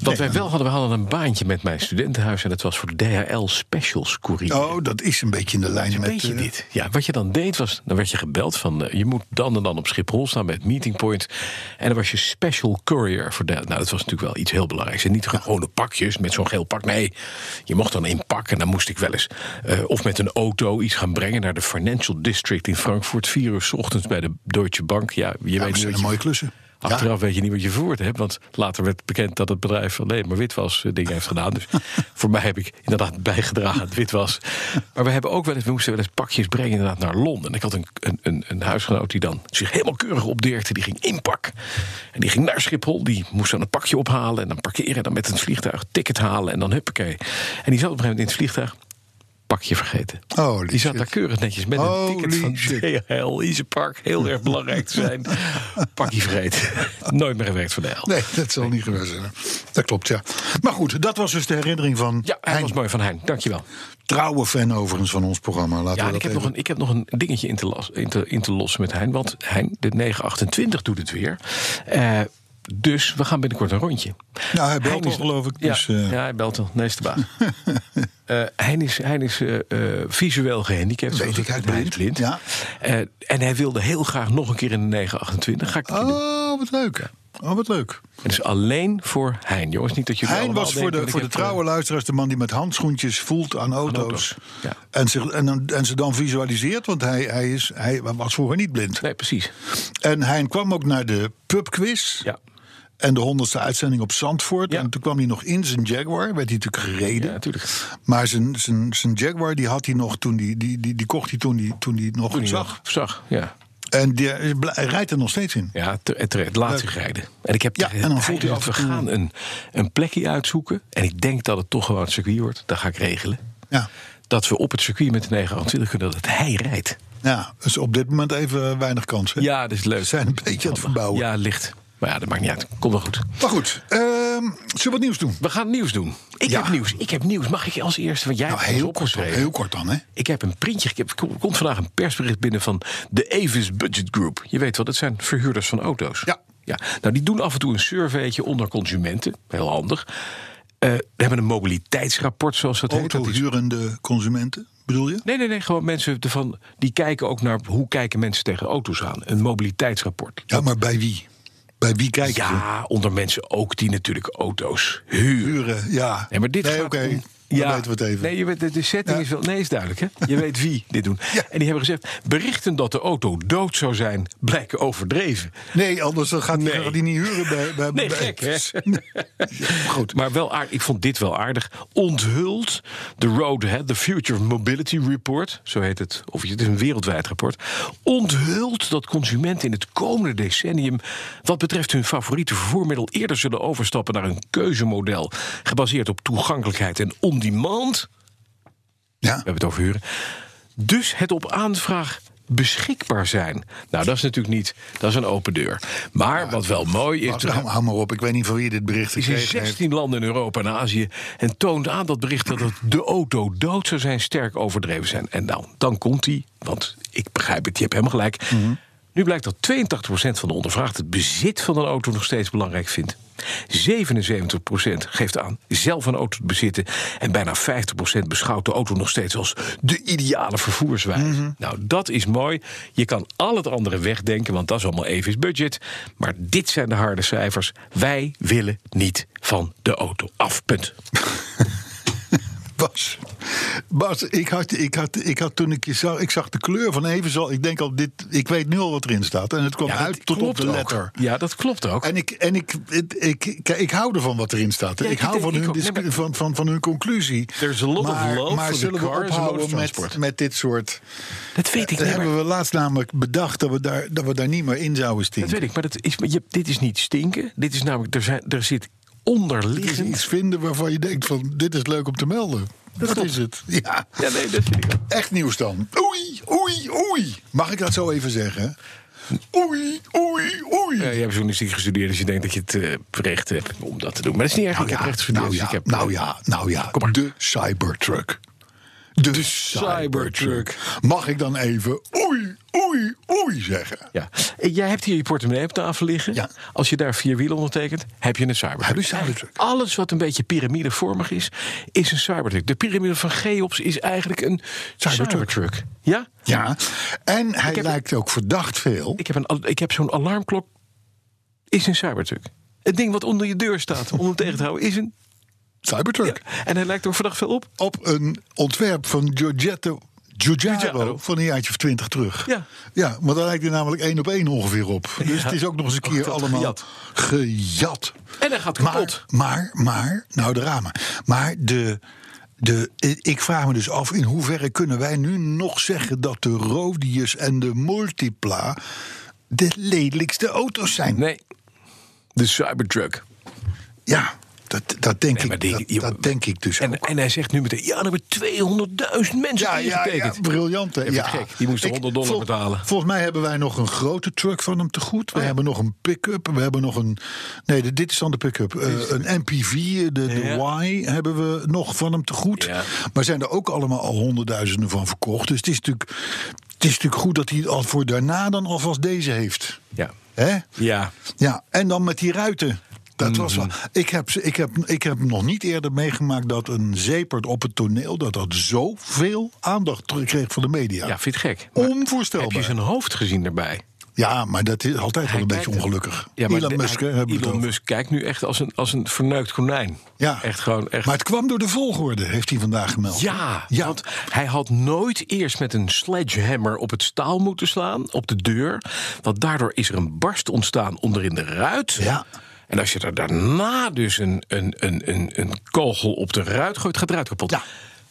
Speaker 2: Wat wij wel hadden, we hadden een baantje met mijn studentenhuis... en dat was voor de DHL Specials Courier.
Speaker 3: oh, dat is een beetje in de lijn met.
Speaker 2: Weet je
Speaker 3: eh,
Speaker 2: dit? Ja, wat je dan deed was, dan werd je gebeld van... eh, je moet dan en dan op Schiphol staan met meeting points. En dan was je special courier voor de... Nou, dat was natuurlijk wel iets heel belangrijks. En niet gewone pakjes met zo'n geel pak. Nee, je mocht dan in pak en dan moest ik wel eens... eh, of met een auto iets gaan brengen naar de Financial District in Frankfurt. Vier uur 's ochtends bij de Deutsche Bank. Ja, je
Speaker 3: ja,
Speaker 2: weet
Speaker 3: dat
Speaker 2: niet
Speaker 3: zijn
Speaker 2: wat je-
Speaker 3: mooie klussen.
Speaker 2: Achteraf weet je niet wat je verwoord hebt. Want later werd bekend dat het bedrijf alleen maar witwas eh, dingen heeft gedaan. Dus voor mij heb ik inderdaad bijgedragen aan het witwas. Maar we hebben ook wel eens, we moesten wel eens pakjes brengen inderdaad naar Londen. Ik had een, een, een, een huisgenoot die dan zich helemaal keurig opdeerde. Die ging inpak. En die ging naar Schiphol. Die moest dan een pakje ophalen en dan parkeren. En dan met een vliegtuig ticket halen en dan huppakee. En die zat op een gegeven moment in het vliegtuig. Pakje vergeten.
Speaker 3: Holy
Speaker 2: die zat
Speaker 3: shit.
Speaker 2: daar keurig netjes met een ticket
Speaker 3: Holy
Speaker 2: van
Speaker 3: shit.
Speaker 2: DHL, Isepark, heel erg belangrijk te zijn. Pakje vreed. Nooit meer gewerkt voor de DHL.
Speaker 3: Nee, dat zal niet geweest zijn. Dat klopt, ja. Maar goed, dat was dus de herinnering van
Speaker 2: Ja, hij
Speaker 3: Hein.
Speaker 2: was mooi van Hein. Dankjewel.
Speaker 3: Trouwe fan overigens van ons programma. Laten
Speaker 2: Ja,
Speaker 3: we
Speaker 2: en
Speaker 3: dat
Speaker 2: ik heb,
Speaker 3: even-
Speaker 2: nog een, ik heb nog een dingetje in te, las- in te, in te lossen met Hein. Want Hein, de 928 doet het weer. Eh, dus we gaan binnenkort een rondje.
Speaker 3: Nou, hij belt
Speaker 2: Hein
Speaker 3: al,
Speaker 2: is-
Speaker 3: geloof ik.
Speaker 2: Ja,
Speaker 3: Dus, eh,
Speaker 2: ja, hij belt al. Nee, is de baas. Eh, Hein is, hein is eh, eh, visueel gehandicapt.
Speaker 3: Weet
Speaker 2: zoals
Speaker 3: ik,
Speaker 2: het-
Speaker 3: hij is blind. Ja.
Speaker 2: Eh, en hij wilde heel graag nog een keer in de 928. Ga ik een keer doen.
Speaker 3: Oh, wat leuk. Oh, wat leuk.
Speaker 2: Het is alleen voor Hein, jongens. Niet dat jullie
Speaker 3: Hein
Speaker 2: allemaal
Speaker 3: was voor
Speaker 2: denken,
Speaker 3: de,
Speaker 2: ik
Speaker 3: voor de
Speaker 2: heb, eh,
Speaker 3: trouwe luisteraars de man die met handschoentjes voelt aan auto's.
Speaker 2: auto's, ja.
Speaker 3: En, zich, en, dan- en ze dan visualiseert, want hij, hij, is, hij was vroeger niet blind.
Speaker 2: eh, Nee, precies.
Speaker 3: En Hein kwam ook naar de pubquiz.
Speaker 2: Ja.
Speaker 3: En de honderdste uitzending op Zandvoort.
Speaker 2: Ja.
Speaker 3: En toen kwam hij nog in zijn Jaguar. Werd hij natuurlijk gereden.
Speaker 2: Ja, natuurlijk.
Speaker 3: Maar zijn, zijn, zijn Jaguar die had hij nog toen die, die, die, die kocht hij toen die, toen die nog
Speaker 2: Toen hij
Speaker 3: zag.
Speaker 2: nog Zag, ja.
Speaker 3: En die, hij bl- hij rijdt er nog steeds in.
Speaker 2: Ja, te- en terecht. Laat zich rijden. En ik heb
Speaker 3: Ja,
Speaker 2: tegen
Speaker 3: en dan
Speaker 2: Hein
Speaker 3: voelt hij
Speaker 2: gezegd,
Speaker 3: af en
Speaker 2: we
Speaker 3: toe-
Speaker 2: gaan een, een plekje uitzoeken. En ik denk dat het toch gewoon een circuit wordt. Dat ga ik regelen.
Speaker 3: Ja.
Speaker 2: dat we op het circuit met de 928 kunnen dat hij rijdt.
Speaker 3: Ja, dus op dit moment even weinig kans. Hè?
Speaker 2: Ja, dat is leuk.
Speaker 3: Ze zijn een beetje aan het verbouwen.
Speaker 2: Ja, licht. Maar ja, dat maakt niet uit. Komt wel goed.
Speaker 3: Maar goed, ehm, zullen we wat nieuws doen?
Speaker 2: We gaan nieuws doen. Ik
Speaker 3: Ja.
Speaker 2: heb nieuws. Ik heb nieuws. Mag ik als eerste? Want jij
Speaker 3: Nou,
Speaker 2: hebt ons
Speaker 3: heel kort, dan,
Speaker 2: opgeschreven.
Speaker 3: heel kort dan, hè?
Speaker 2: Ik heb een printje. Ik heb, er komt vandaag een persbericht binnen van de Avis Budget Group. Je weet wel, dat zijn verhuurders van auto's.
Speaker 3: Ja.
Speaker 2: ja. Nou, die doen af en toe een surveytje onder consumenten. Heel handig. Eh, we hebben een mobiliteitsrapport, zoals dat heet. Dat is-
Speaker 3: Autohurende consumenten, bedoel je?
Speaker 2: Nee, nee, nee. Gewoon mensen ervan, die kijken ook naar hoe kijken mensen tegen auto's aan. Een mobiliteitsrapport.
Speaker 3: Ja, maar bij wie? Bij wie kijken ze?
Speaker 2: Ja, onder mensen ook die natuurlijk auto's huren.
Speaker 3: Huren, ja.
Speaker 2: Nee, maar dit
Speaker 3: nee,
Speaker 2: gaat
Speaker 3: oké.
Speaker 2: om-
Speaker 3: Dan weten we het even.
Speaker 2: Nee, je weet, de- de setting
Speaker 3: Ja.
Speaker 2: is wel... Nee, is duidelijk, hè? Je weet wie dit doen.
Speaker 3: Ja.
Speaker 2: En die hebben gezegd... berichten dat de auto dood zou zijn... blijken overdreven.
Speaker 3: Nee, anders dan gaat die,
Speaker 2: Nee.
Speaker 3: gaat die niet huren bij... bij
Speaker 2: Nee,
Speaker 3: bij-
Speaker 2: gek, hè?
Speaker 3: Goed.
Speaker 2: Maar wel aardig. Ik vond dit wel aardig. Onthuld de Road Ahead, the Future of Mobility Report. Zo heet het. Of het is een wereldwijd rapport. Onthult dat consumenten in het komende decennium... wat betreft hun favoriete vervoermiddel... eerder zullen overstappen naar een keuzemodel... gebaseerd op toegankelijkheid en on-demand...
Speaker 3: Ja,
Speaker 2: We hebben het over huren. Dus het op aanvraag beschikbaar zijn. Nou, dat is natuurlijk niet. Dat is een open deur. Maar wat wel mooi is.
Speaker 3: Nou, hou, hou maar op. Ik weet niet van wie dit bericht
Speaker 2: is in
Speaker 3: gekregen heeft.
Speaker 2: 16 landen in Europa en Azië. En toont aan dat bericht dat het de auto dood zou zijn sterk overdreven zijn. En nou, dan komt hij. Want ik begrijp het, je hebt helemaal gelijk.
Speaker 3: Mhm.
Speaker 2: Nu blijkt dat 82% van de ondervraagden het bezit van een auto nog steeds belangrijk vindt. 77% geeft aan zelf een auto te bezitten. En bijna 50% beschouwt de auto nog steeds als de ideale vervoerswijze.
Speaker 3: Mhm.
Speaker 2: Nou, dat is mooi. Je kan al het andere wegdenken, want dat is allemaal even budget. Maar dit zijn de harde cijfers. Wij willen niet van de auto af. Punt.
Speaker 3: Bas, Bas ik, had, ik, had, ik had toen ik je zag, ik zag de kleur van Evenzal. Ik denk al, dit, ik weet nu al wat erin staat. En het kwam
Speaker 2: dat
Speaker 3: uit tot op
Speaker 2: klopt
Speaker 3: de
Speaker 2: ook.
Speaker 3: letter.
Speaker 2: Ja, dat klopt ook.
Speaker 3: En ik, en ik, ik, ik, kijk, ik hou ervan wat erin staat. hè.
Speaker 2: Ja,
Speaker 3: ik
Speaker 2: ik
Speaker 3: hou
Speaker 2: denk-
Speaker 3: van
Speaker 2: ik
Speaker 3: hun,
Speaker 2: ook. Nee,
Speaker 3: discu-
Speaker 2: maar-
Speaker 3: van, van, van hun conclusie.
Speaker 2: There's a lot of
Speaker 3: maar,
Speaker 2: love
Speaker 3: maar
Speaker 2: for the
Speaker 3: zullen
Speaker 2: car
Speaker 3: we
Speaker 2: as a mode
Speaker 3: ophouden
Speaker 2: of
Speaker 3: met,
Speaker 2: transport?
Speaker 3: met dit soort...
Speaker 2: dat weet
Speaker 3: Dat
Speaker 2: ik niet. maar-
Speaker 3: eh, hebben we laatst namelijk bedacht dat we daar, dat we daar niet meer in zouden
Speaker 2: Dat
Speaker 3: stinken.
Speaker 2: weet ik, maar, dat is, maar je, dit is niet stinken. Dit is namelijk, er, zijn, er zit
Speaker 3: Het is iets
Speaker 2: onderliggend...
Speaker 3: vinden waarvan je denkt van, dit is leuk om te melden. Dat, is het. Ja.
Speaker 2: Ja, nee, dat vind ik ook.
Speaker 3: Echt nieuws dan. Oei, oei, oei. Mag ik dat zo even zeggen? Oei, oei, oei.
Speaker 2: Ja, Eh, je hebt journalistiek gestudeerd, dus je denkt dat je het eh, recht hebt om dat te doen. Maar dat is niet erg. ik heb recht gestudeerd.
Speaker 3: nou
Speaker 2: dus
Speaker 3: ja,
Speaker 2: ik heb,
Speaker 3: nou ja, nou ja.
Speaker 2: Kom maar.
Speaker 3: De Cybertruck. De,
Speaker 2: Cybertruck.
Speaker 3: Mag ik dan even oei, oei, oei zeggen?
Speaker 2: Ja. Eh, Jij hebt hier je portemonnee op tafel liggen.
Speaker 3: Ja.
Speaker 2: Als je daar vier wielen ondertekent, heb je een cybertruck.
Speaker 3: Heb je een Cybertruck.
Speaker 2: Alles wat een beetje piramidevormig is, is een cybertruck. De piramide van Cheops is eigenlijk een
Speaker 3: Cybertruck.
Speaker 2: cybertruck. Ja?
Speaker 3: Ja. En hij
Speaker 2: heb-
Speaker 3: lijkt ook verdacht veel.
Speaker 2: Ik heb, een, al- ik heb zo'n alarmklok. Is een cybertruck. Het ding wat onder je deur staat om hem tegen te houden, is een...
Speaker 3: Cybertruck.
Speaker 2: En hij lijkt er vandaag veel op.
Speaker 3: Op een ontwerp van Giorgetto. Giugiaro
Speaker 2: Giugiaro.
Speaker 3: van een jaartje of twintig terug.
Speaker 2: Ja.
Speaker 3: ja, want daar lijkt hij namelijk één op één ongeveer op. Dus het is ook nog eens een keer
Speaker 2: Oh, dat
Speaker 3: allemaal
Speaker 2: gejat.
Speaker 3: gejat.
Speaker 2: En hij gaat kapot.
Speaker 3: Maar, maar, maar, nou de ramen. Maar de, de, ik vraag me dus af in hoeverre kunnen wij nu nog zeggen dat de Rodius en de Multipla de lelijkste auto's zijn?
Speaker 2: Nee, de cybertruck.
Speaker 3: Ja, dat, dat, denk,
Speaker 2: Nee, maar
Speaker 3: ik,
Speaker 2: die-
Speaker 3: dat,
Speaker 2: je-
Speaker 3: dat denk ik dus
Speaker 2: En,
Speaker 3: ook.
Speaker 2: en hij zegt nu meteen, ja, dan hebben 200.000 mensen
Speaker 3: Ja, ja, ja,
Speaker 2: ingetekend.
Speaker 3: briljant hè.
Speaker 2: Even
Speaker 3: Ja.
Speaker 2: gek, die moesten
Speaker 3: Ik-
Speaker 2: 100 dollar
Speaker 3: vol-
Speaker 2: betalen. Oh
Speaker 3: Volgens mij hebben wij nog een grote truck van hem te goed. We hebben nog een pick-up. We hebben nog een. Nee, de- dit is dan de pick-up. Eh, een MPV, de, de
Speaker 2: Ja.
Speaker 3: Y hebben we nog van hem te goed.
Speaker 2: Ja.
Speaker 3: Maar zijn er ook allemaal al honderdduizenden van verkocht. Dus het is natuurlijk, het is natuurlijk goed dat hij het al voor daarna dan alvast deze heeft.
Speaker 2: Ja.
Speaker 3: Hè?
Speaker 2: Ja,
Speaker 3: Ja, en dan met die ruiten. Dat was wel.
Speaker 2: eh,
Speaker 3: Ik heb, ze- ik, heb, ik heb nog niet eerder meegemaakt dat een zeepert op het toneel. dat dat zoveel aandacht terug kreeg van de media.
Speaker 2: ja vind je het gek? Maar
Speaker 3: Onvoorstelbaar.
Speaker 2: Heb je zijn hoofd gezien daarbij?
Speaker 3: Ja, maar dat is altijd wel
Speaker 2: Hij
Speaker 3: een beetje
Speaker 2: kijkt-
Speaker 3: ongelukkig.
Speaker 2: Ja, maar
Speaker 3: Elon
Speaker 2: de-
Speaker 3: Musk, hè,
Speaker 2: hij-
Speaker 3: hebben we het
Speaker 2: Elon
Speaker 3: over.
Speaker 2: Musk kijkt nu echt als een, als een verneukt konijn.
Speaker 3: Ja.
Speaker 2: Echt gewoon, echt.
Speaker 3: Maar het kwam door de volgorde, heeft hij vandaag gemeld.
Speaker 2: ja,
Speaker 3: ja.
Speaker 2: want hij had nooit eerst met een sledgehammer op het staal moeten slaan, op de deur. Want daardoor is er een barst ontstaan onderin de ruit.
Speaker 3: Ja.
Speaker 2: En als je er daarna dus een, een, een, een, een kogel op de ruit gooit, gaat de ruit kapot.
Speaker 3: Ja.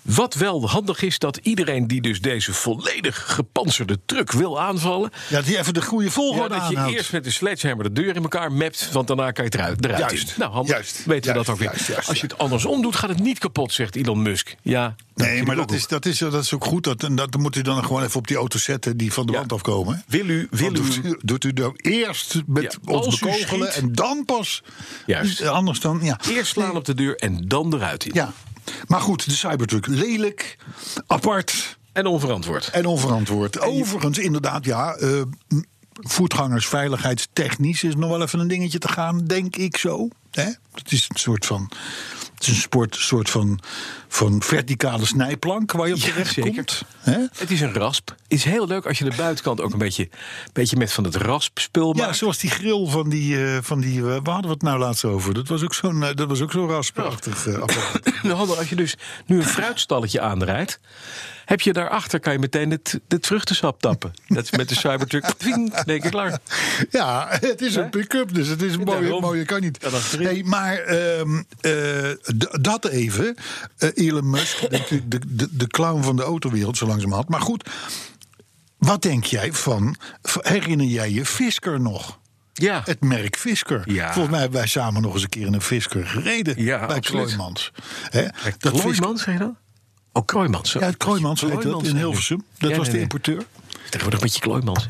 Speaker 2: Wat wel handig is, dat iedereen die dus deze volledig gepantserde truck wil aanvallen...
Speaker 3: Ja, die even de goede
Speaker 2: Ja,
Speaker 3: volgorde
Speaker 2: dat je
Speaker 3: aanhoudt.
Speaker 2: eerst met een sledgehammer de deur in elkaar mapt, want daarna kan je het eruit, eruit
Speaker 3: Juist,
Speaker 2: in. Nou, handig.
Speaker 3: juist,
Speaker 2: weten we
Speaker 3: juist,
Speaker 2: dat ook weer.
Speaker 3: juist, juist,
Speaker 2: Als je het andersom doet, gaat het niet kapot, zegt Elon Musk. Ja,
Speaker 3: Nee, maar dat is, dat, is, dat is ook goed. Dat, en dat moet u dan gewoon even op die auto zetten die van de
Speaker 2: Ja.
Speaker 3: wand afkomen.
Speaker 2: Wil u- wil
Speaker 3: Want
Speaker 2: u-
Speaker 3: doet Doet u dan eerst met
Speaker 2: Ja,
Speaker 3: ons
Speaker 2: als u
Speaker 3: bekogelen
Speaker 2: schiet-
Speaker 3: en dan pas.
Speaker 2: Juist.
Speaker 3: Eh, Anders dan, ja.
Speaker 2: eerst slaan op de deur en dan eruit in.
Speaker 3: Ja. Maar goed, de Cybertruck. Lelijk, apart
Speaker 2: En onverantwoord.
Speaker 3: en onverantwoord. Overigens, inderdaad, ja. eh, m- voetgangers, veiligheidstechnisch is nog wel even een dingetje te gaan, denk ik zo. Hè? Het is een soort van. Het is een sport, soort van, van verticale snijplank waar je op
Speaker 2: Ja,
Speaker 3: terecht
Speaker 2: zeker.
Speaker 3: komt. Hè?
Speaker 2: Het is een rasp. Het is heel leuk als je de buitenkant ook een beetje, beetje met van het raspspul
Speaker 3: Ja,
Speaker 2: maakt.
Speaker 3: zoals die grill van die. eh, van die eh, waar hadden we het nou laatst over? Dat was ook zo'n eh, dat was ook zo'n rasperachtig eh, apparaat.
Speaker 2: Nou, handig, als je dus nu een fruitstalletje aanrijdt, heb je daarachter kan je meteen het, het vruchtensap tappen. Dat is met de Cybertruck. Twing, denk ik klaar.
Speaker 3: ja, het is een pick-up, dus het is een mooie,
Speaker 2: Daarom.
Speaker 3: mooie kan niet.
Speaker 2: Ja, dat is drie.
Speaker 3: Nee, maar ehm, eh, d- dat even. Eh, Elon Musk, natuurlijk de, de, de clown van de autowereld, zo langzamerhand. Maar goed, wat denk jij van. Herinner jij je Fisker nog?
Speaker 2: Ja.
Speaker 3: Het merk Fisker.
Speaker 2: Ja.
Speaker 3: Volgens mij hebben wij samen nog eens een keer in een Fisker gereden.
Speaker 2: Ja,
Speaker 3: bij
Speaker 2: absoluut.
Speaker 3: Kloijmans. Hè?
Speaker 2: Dat
Speaker 3: Fisker-
Speaker 2: Kroijmans, zei je dat? Oh, Kroijmans. zo.
Speaker 3: Ja, het Kroijmans heet dat,
Speaker 2: Kroijmans,
Speaker 3: in
Speaker 2: ja.
Speaker 3: Hilversum. Dat
Speaker 2: Ja,
Speaker 3: was
Speaker 2: nee,
Speaker 3: de
Speaker 2: nee.
Speaker 3: importeur.
Speaker 2: Tegenwoordig met je Kroijmans. hè?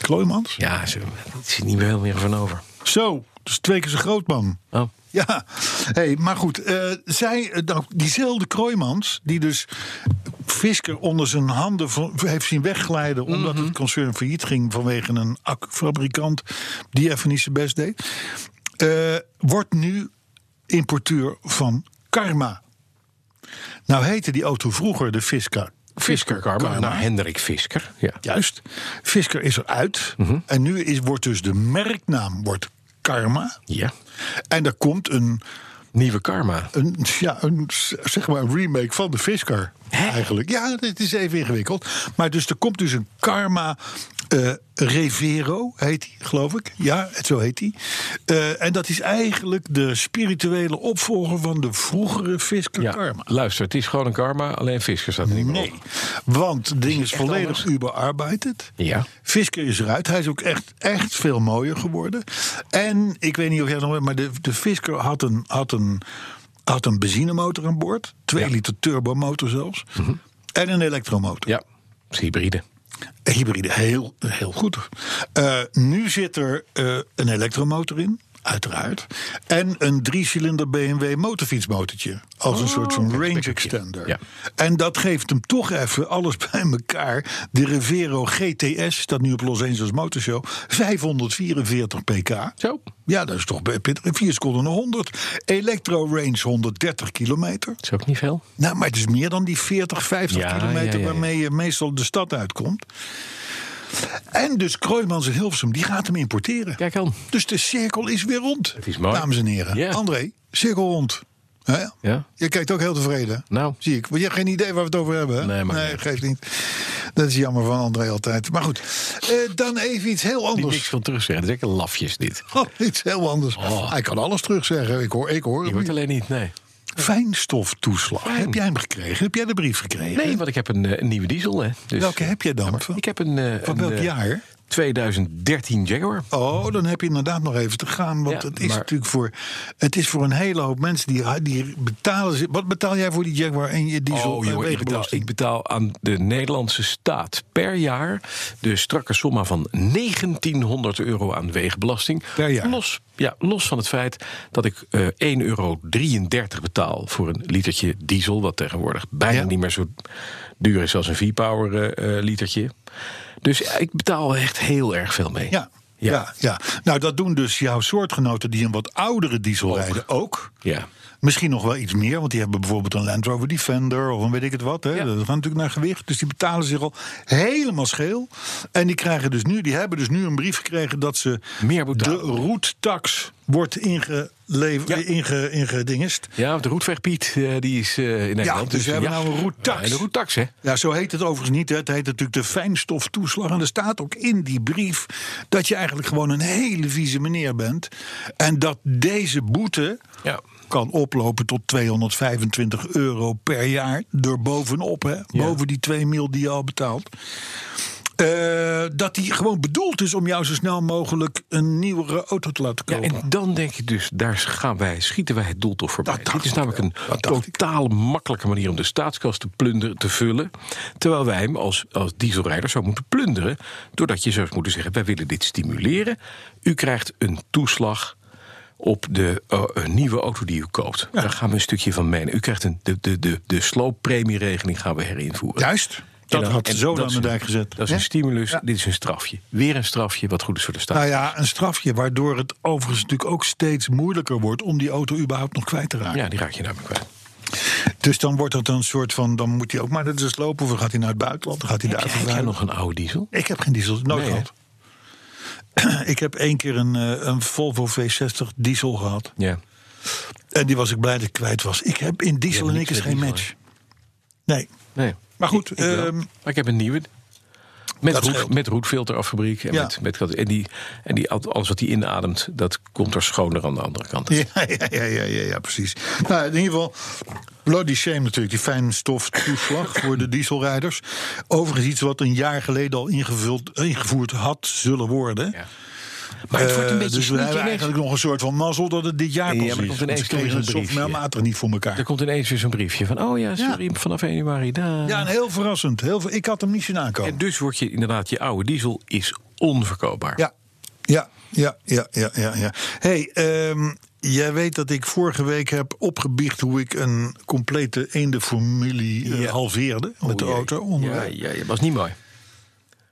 Speaker 3: Kloijmans.
Speaker 2: Ja, ze, het zit niet meer heel meer van over.
Speaker 3: Zo, dus twee keer zo groot, man.
Speaker 2: Oh.
Speaker 3: Ja, hey, maar goed. eh, zij, eh, nou, diezelfde Kroijmans, die dus Fisker onder zijn handen van- heeft zien wegglijden... omdat
Speaker 2: Mhm.
Speaker 3: het concern failliet ging vanwege een accufabrikant... die even niet zijn best deed... eh, wordt nu importeur van Karma. Nou heette die auto vroeger de Fisker.
Speaker 2: Fisker, Karma. Nou, Hendrik Fisker. Ja. Mhm.
Speaker 3: Juist. Fisker is eruit. En nu is, wordt dus de merknaam wordt Karma.
Speaker 2: ja.
Speaker 3: En er komt een,
Speaker 2: Nieuwe Karma.
Speaker 3: een, ja, een, zeg maar een remake van de Fisker.
Speaker 2: Hè?
Speaker 3: Eigenlijk. Ja, het is even ingewikkeld. Maar dus er komt dus een Karma eh, Revero, heet die, geloof ik. Ja, het, zo heet die. Eh, en dat is eigenlijk de spirituele opvolger van de vroegere Fisker Karma.
Speaker 2: Luister, het is gewoon een Karma, alleen Fisker staat er niet meer
Speaker 3: Nee,
Speaker 2: op.
Speaker 3: want het ding is volledig überarbeidet.
Speaker 2: Ja.
Speaker 3: Fisker is eruit. Hij is ook echt, echt veel mooier geworden. En ik weet niet of jij het nog weet, maar de, de Fisker had een, had, een, had een benzinemotor aan boord. 2 liter turbomotor zelfs. En een elektromotor.
Speaker 2: Mhm. Ja, het is hybride.
Speaker 3: Een Eh, Hybride, heel, heel goed. Eh, nu zit er eh, een elektromotor in, uiteraard. En een driecilinder BMW motorfietsmotortje. Als
Speaker 2: Oh,
Speaker 3: een soort van range extender.
Speaker 2: ja.
Speaker 3: En dat geeft hem toch even alles bij elkaar. De Rivero GTS, staat nu op Los Angeles Motorshow. 544 pk.
Speaker 2: Zo.
Speaker 3: Ja, dat is toch pittig. 4 seconden naar 100. Electro range 130 kilometer.
Speaker 2: Dat is ook niet veel.
Speaker 3: Nou, maar het is meer dan die 40, 50
Speaker 2: Ja,
Speaker 3: kilometer
Speaker 2: ja, ja, ja.
Speaker 3: waarmee je meestal de stad uitkomt. En dus Kroijmans en Hilversum, die gaat hem importeren.
Speaker 2: Kijk aan.
Speaker 3: Dus de cirkel is weer rond.
Speaker 2: is mooi.
Speaker 3: Dames en heren.
Speaker 2: Ja.
Speaker 3: André, cirkel rond. Hè?
Speaker 2: Ja.
Speaker 3: Je kijkt ook heel tevreden.
Speaker 2: Nou.
Speaker 3: Zie ik. Want je hebt geen idee waar we het over hebben. hè?
Speaker 2: Nee, maar niet.
Speaker 3: geeft niet. Dat is jammer van André altijd. Maar goed, eh, dan even iets heel
Speaker 2: Niet niks
Speaker 3: anders.
Speaker 2: van terugzeggen. Het is echt lafjes dit.
Speaker 3: Oh, iets heel anders. Hij kan alles terugzeggen. Ik hoor, ik hoor.
Speaker 2: Je
Speaker 3: hem
Speaker 2: hoort
Speaker 3: niet.
Speaker 2: alleen niet, nee.
Speaker 3: Fijnstoftoeslag. Heb jij hem gekregen? Heb jij de brief gekregen?
Speaker 2: Nee, want ik heb een, eh, een nieuwe diesel, hè. Dus,
Speaker 3: Welke heb jij dan?
Speaker 2: Ja, maar
Speaker 3: Van-
Speaker 2: ik heb een... eh,
Speaker 3: van
Speaker 2: een,
Speaker 3: welk
Speaker 2: eh,
Speaker 3: jaar?
Speaker 2: 2013 Jaguar.
Speaker 3: Oh, dan heb je inderdaad nog even te gaan. Want
Speaker 2: Ja,
Speaker 3: het is
Speaker 2: maar-
Speaker 3: natuurlijk voor, het is voor een hele hoop mensen die, die betalen. ze- Wat betaal jij voor die Jaguar en je diesel
Speaker 2: Oh,
Speaker 3: en
Speaker 2: joh, ik, betaal,
Speaker 3: eh, wegenbelasting?
Speaker 2: ik betaal aan de Nederlandse staat per jaar de strakke somma van 1900 euro aan wegenbelasting.
Speaker 3: Per jaar?
Speaker 2: Los, ja, los van het feit dat ik eh 1,33 euro betaal voor een litertje diesel, wat tegenwoordig bijna
Speaker 3: Ja.
Speaker 2: niet meer zo duur is als een V-Power eh, eh, litertje. Dus ik betaal echt heel erg veel mee.
Speaker 3: Ja. Ja.
Speaker 2: Ja.
Speaker 3: Ja, nou dat doen dus jouw soortgenoten die een wat oudere diesel rijden ook.
Speaker 2: Ja.
Speaker 3: Misschien nog wel iets meer, want die hebben bijvoorbeeld een Land Rover Defender of een weet ik het wat. Hè.
Speaker 2: Ja.
Speaker 3: Dat gaat natuurlijk naar gewicht, dus die betalen zich al helemaal scheel. En die, krijgen dus nu, die hebben dus nu een brief gekregen dat ze
Speaker 2: Meer
Speaker 3: de
Speaker 2: betalen.
Speaker 3: roettax wordt ingeleverd,
Speaker 2: Ja.
Speaker 3: inge, ingedingest.
Speaker 2: Ja, want de Roetweg Piet, eh, die is eh, in Nederland.
Speaker 3: dus we hebben nou een roettax.
Speaker 2: Ja, en de roettax, hè?
Speaker 3: Ja, zo heet het overigens niet. Hè. Het heet natuurlijk de fijnstoftoeslag. En er staat ook in die brief dat je eigenlijk gewoon een hele vieze meneer bent. En dat deze boete
Speaker 2: Ja.
Speaker 3: kan oplopen tot 225 euro per jaar. Door bovenop, hè? boven die 2 mil die je al betaalt. Eh, dat die gewoon bedoeld is om jou zo snel mogelijk een nieuwere auto te laten
Speaker 2: Ja,
Speaker 3: kopen.
Speaker 2: en dan denk je dus, daar gaan wij, schieten wij het doeltof voorbij.
Speaker 3: Dat dacht
Speaker 2: Dit is
Speaker 3: ik,
Speaker 2: namelijk
Speaker 3: ja.
Speaker 2: een
Speaker 3: Dat dacht ik.
Speaker 2: totaal makkelijke manier om de staatskas te plunderen, te vullen. Terwijl wij hem als, als dieselrijder zou moeten plunderen. Doordat je zou eens moeten zeggen, wij willen dit stimuleren. U krijgt een toeslag op de eh, een nieuwe auto die u koopt. Daar gaan we een stukje van meenemen. U krijgt een, de, de, de, de slooppremieregeling gaan we herinvoeren.
Speaker 3: Juist. Dat
Speaker 2: En dan-
Speaker 3: had
Speaker 2: en
Speaker 3: zo
Speaker 2: dat
Speaker 3: aan
Speaker 2: is
Speaker 3: de
Speaker 2: een-
Speaker 3: dijk gezet.
Speaker 2: Dat is
Speaker 3: Hè?
Speaker 2: een stimulus, dit is een strafje. Weer een strafje, wat goed is voor de staat.
Speaker 3: Nou ja, een strafje, waardoor het overigens natuurlijk ook steeds moeilijker wordt om die auto überhaupt nog kwijt te raken.
Speaker 2: ja, die raak je namelijk kwijt.
Speaker 3: Dus dan wordt dat een soort van, dan moet hij ook maar dat is lopen, of gaat hij naar het buitenland, dan gaat hij daar
Speaker 2: Heb jij
Speaker 3: vervuilen.
Speaker 2: nog een oude diesel?
Speaker 3: Ik heb geen diesel, nooit
Speaker 2: Nee,
Speaker 3: gehad. Ik heb één keer een, eh, een Volvo V60 diesel gehad.
Speaker 2: Ja.
Speaker 3: En die was ik blij dat ik kwijt was. Ik heb in diesel
Speaker 2: hebt
Speaker 3: en ik
Speaker 2: niks
Speaker 3: is
Speaker 2: met
Speaker 3: geen
Speaker 2: diesel,
Speaker 3: match. Nee.
Speaker 2: Nee.
Speaker 3: Maar goed,
Speaker 2: Ik, ik wel.
Speaker 3: ehm,
Speaker 2: maar ik heb een nieuwe. Met,
Speaker 3: Dat
Speaker 2: roet,
Speaker 3: scheelt.
Speaker 2: met roetfilter af fabriek. En,
Speaker 3: Ja.
Speaker 2: met, met, kat- en, die, en die, alles wat die inademt, dat komt er schoner aan de andere kant.
Speaker 3: Ja, ja, ja, ja, ja, ja, precies. Nou, in ieder geval, bloody shame natuurlijk, die fijnstoftoeslag voor de dieselrijders. Overigens iets wat een jaar geleden al ingevuld, ingevoerd had zullen worden.
Speaker 2: Ja. Maar het wordt een
Speaker 3: Eh,
Speaker 2: beetje
Speaker 3: dus we
Speaker 2: sneaky
Speaker 3: hebben
Speaker 2: ineens.
Speaker 3: eigenlijk nog een soort van mazzel dat het dit jaar
Speaker 2: Ja,
Speaker 3: pas
Speaker 2: maar er
Speaker 3: is.
Speaker 2: komt
Speaker 3: Want
Speaker 2: ineens
Speaker 3: ze kregen
Speaker 2: een
Speaker 3: het
Speaker 2: briefje.
Speaker 3: softwarematig niet voor
Speaker 2: Er
Speaker 3: elkaar.
Speaker 2: komt ineens weer zo'n briefje van... oh ja, sorry, vanaf 1 januari daar.
Speaker 3: Ja, en heel verrassend. Heel ver- ik had hem niet zien aankomen.
Speaker 2: En dus wordt je inderdaad, je oude diesel is onverkoopbaar.
Speaker 3: Ja, ja, ja, ja, ja, ja. ja. hey, ehm, jij weet dat ik vorige week heb opgebiecht hoe ik een complete eendenformulie eh,
Speaker 2: Ja.
Speaker 3: halveerde met de
Speaker 2: Oei,
Speaker 3: auto.
Speaker 2: Ja,
Speaker 3: onderweg.
Speaker 2: ja, ja, was niet mooi.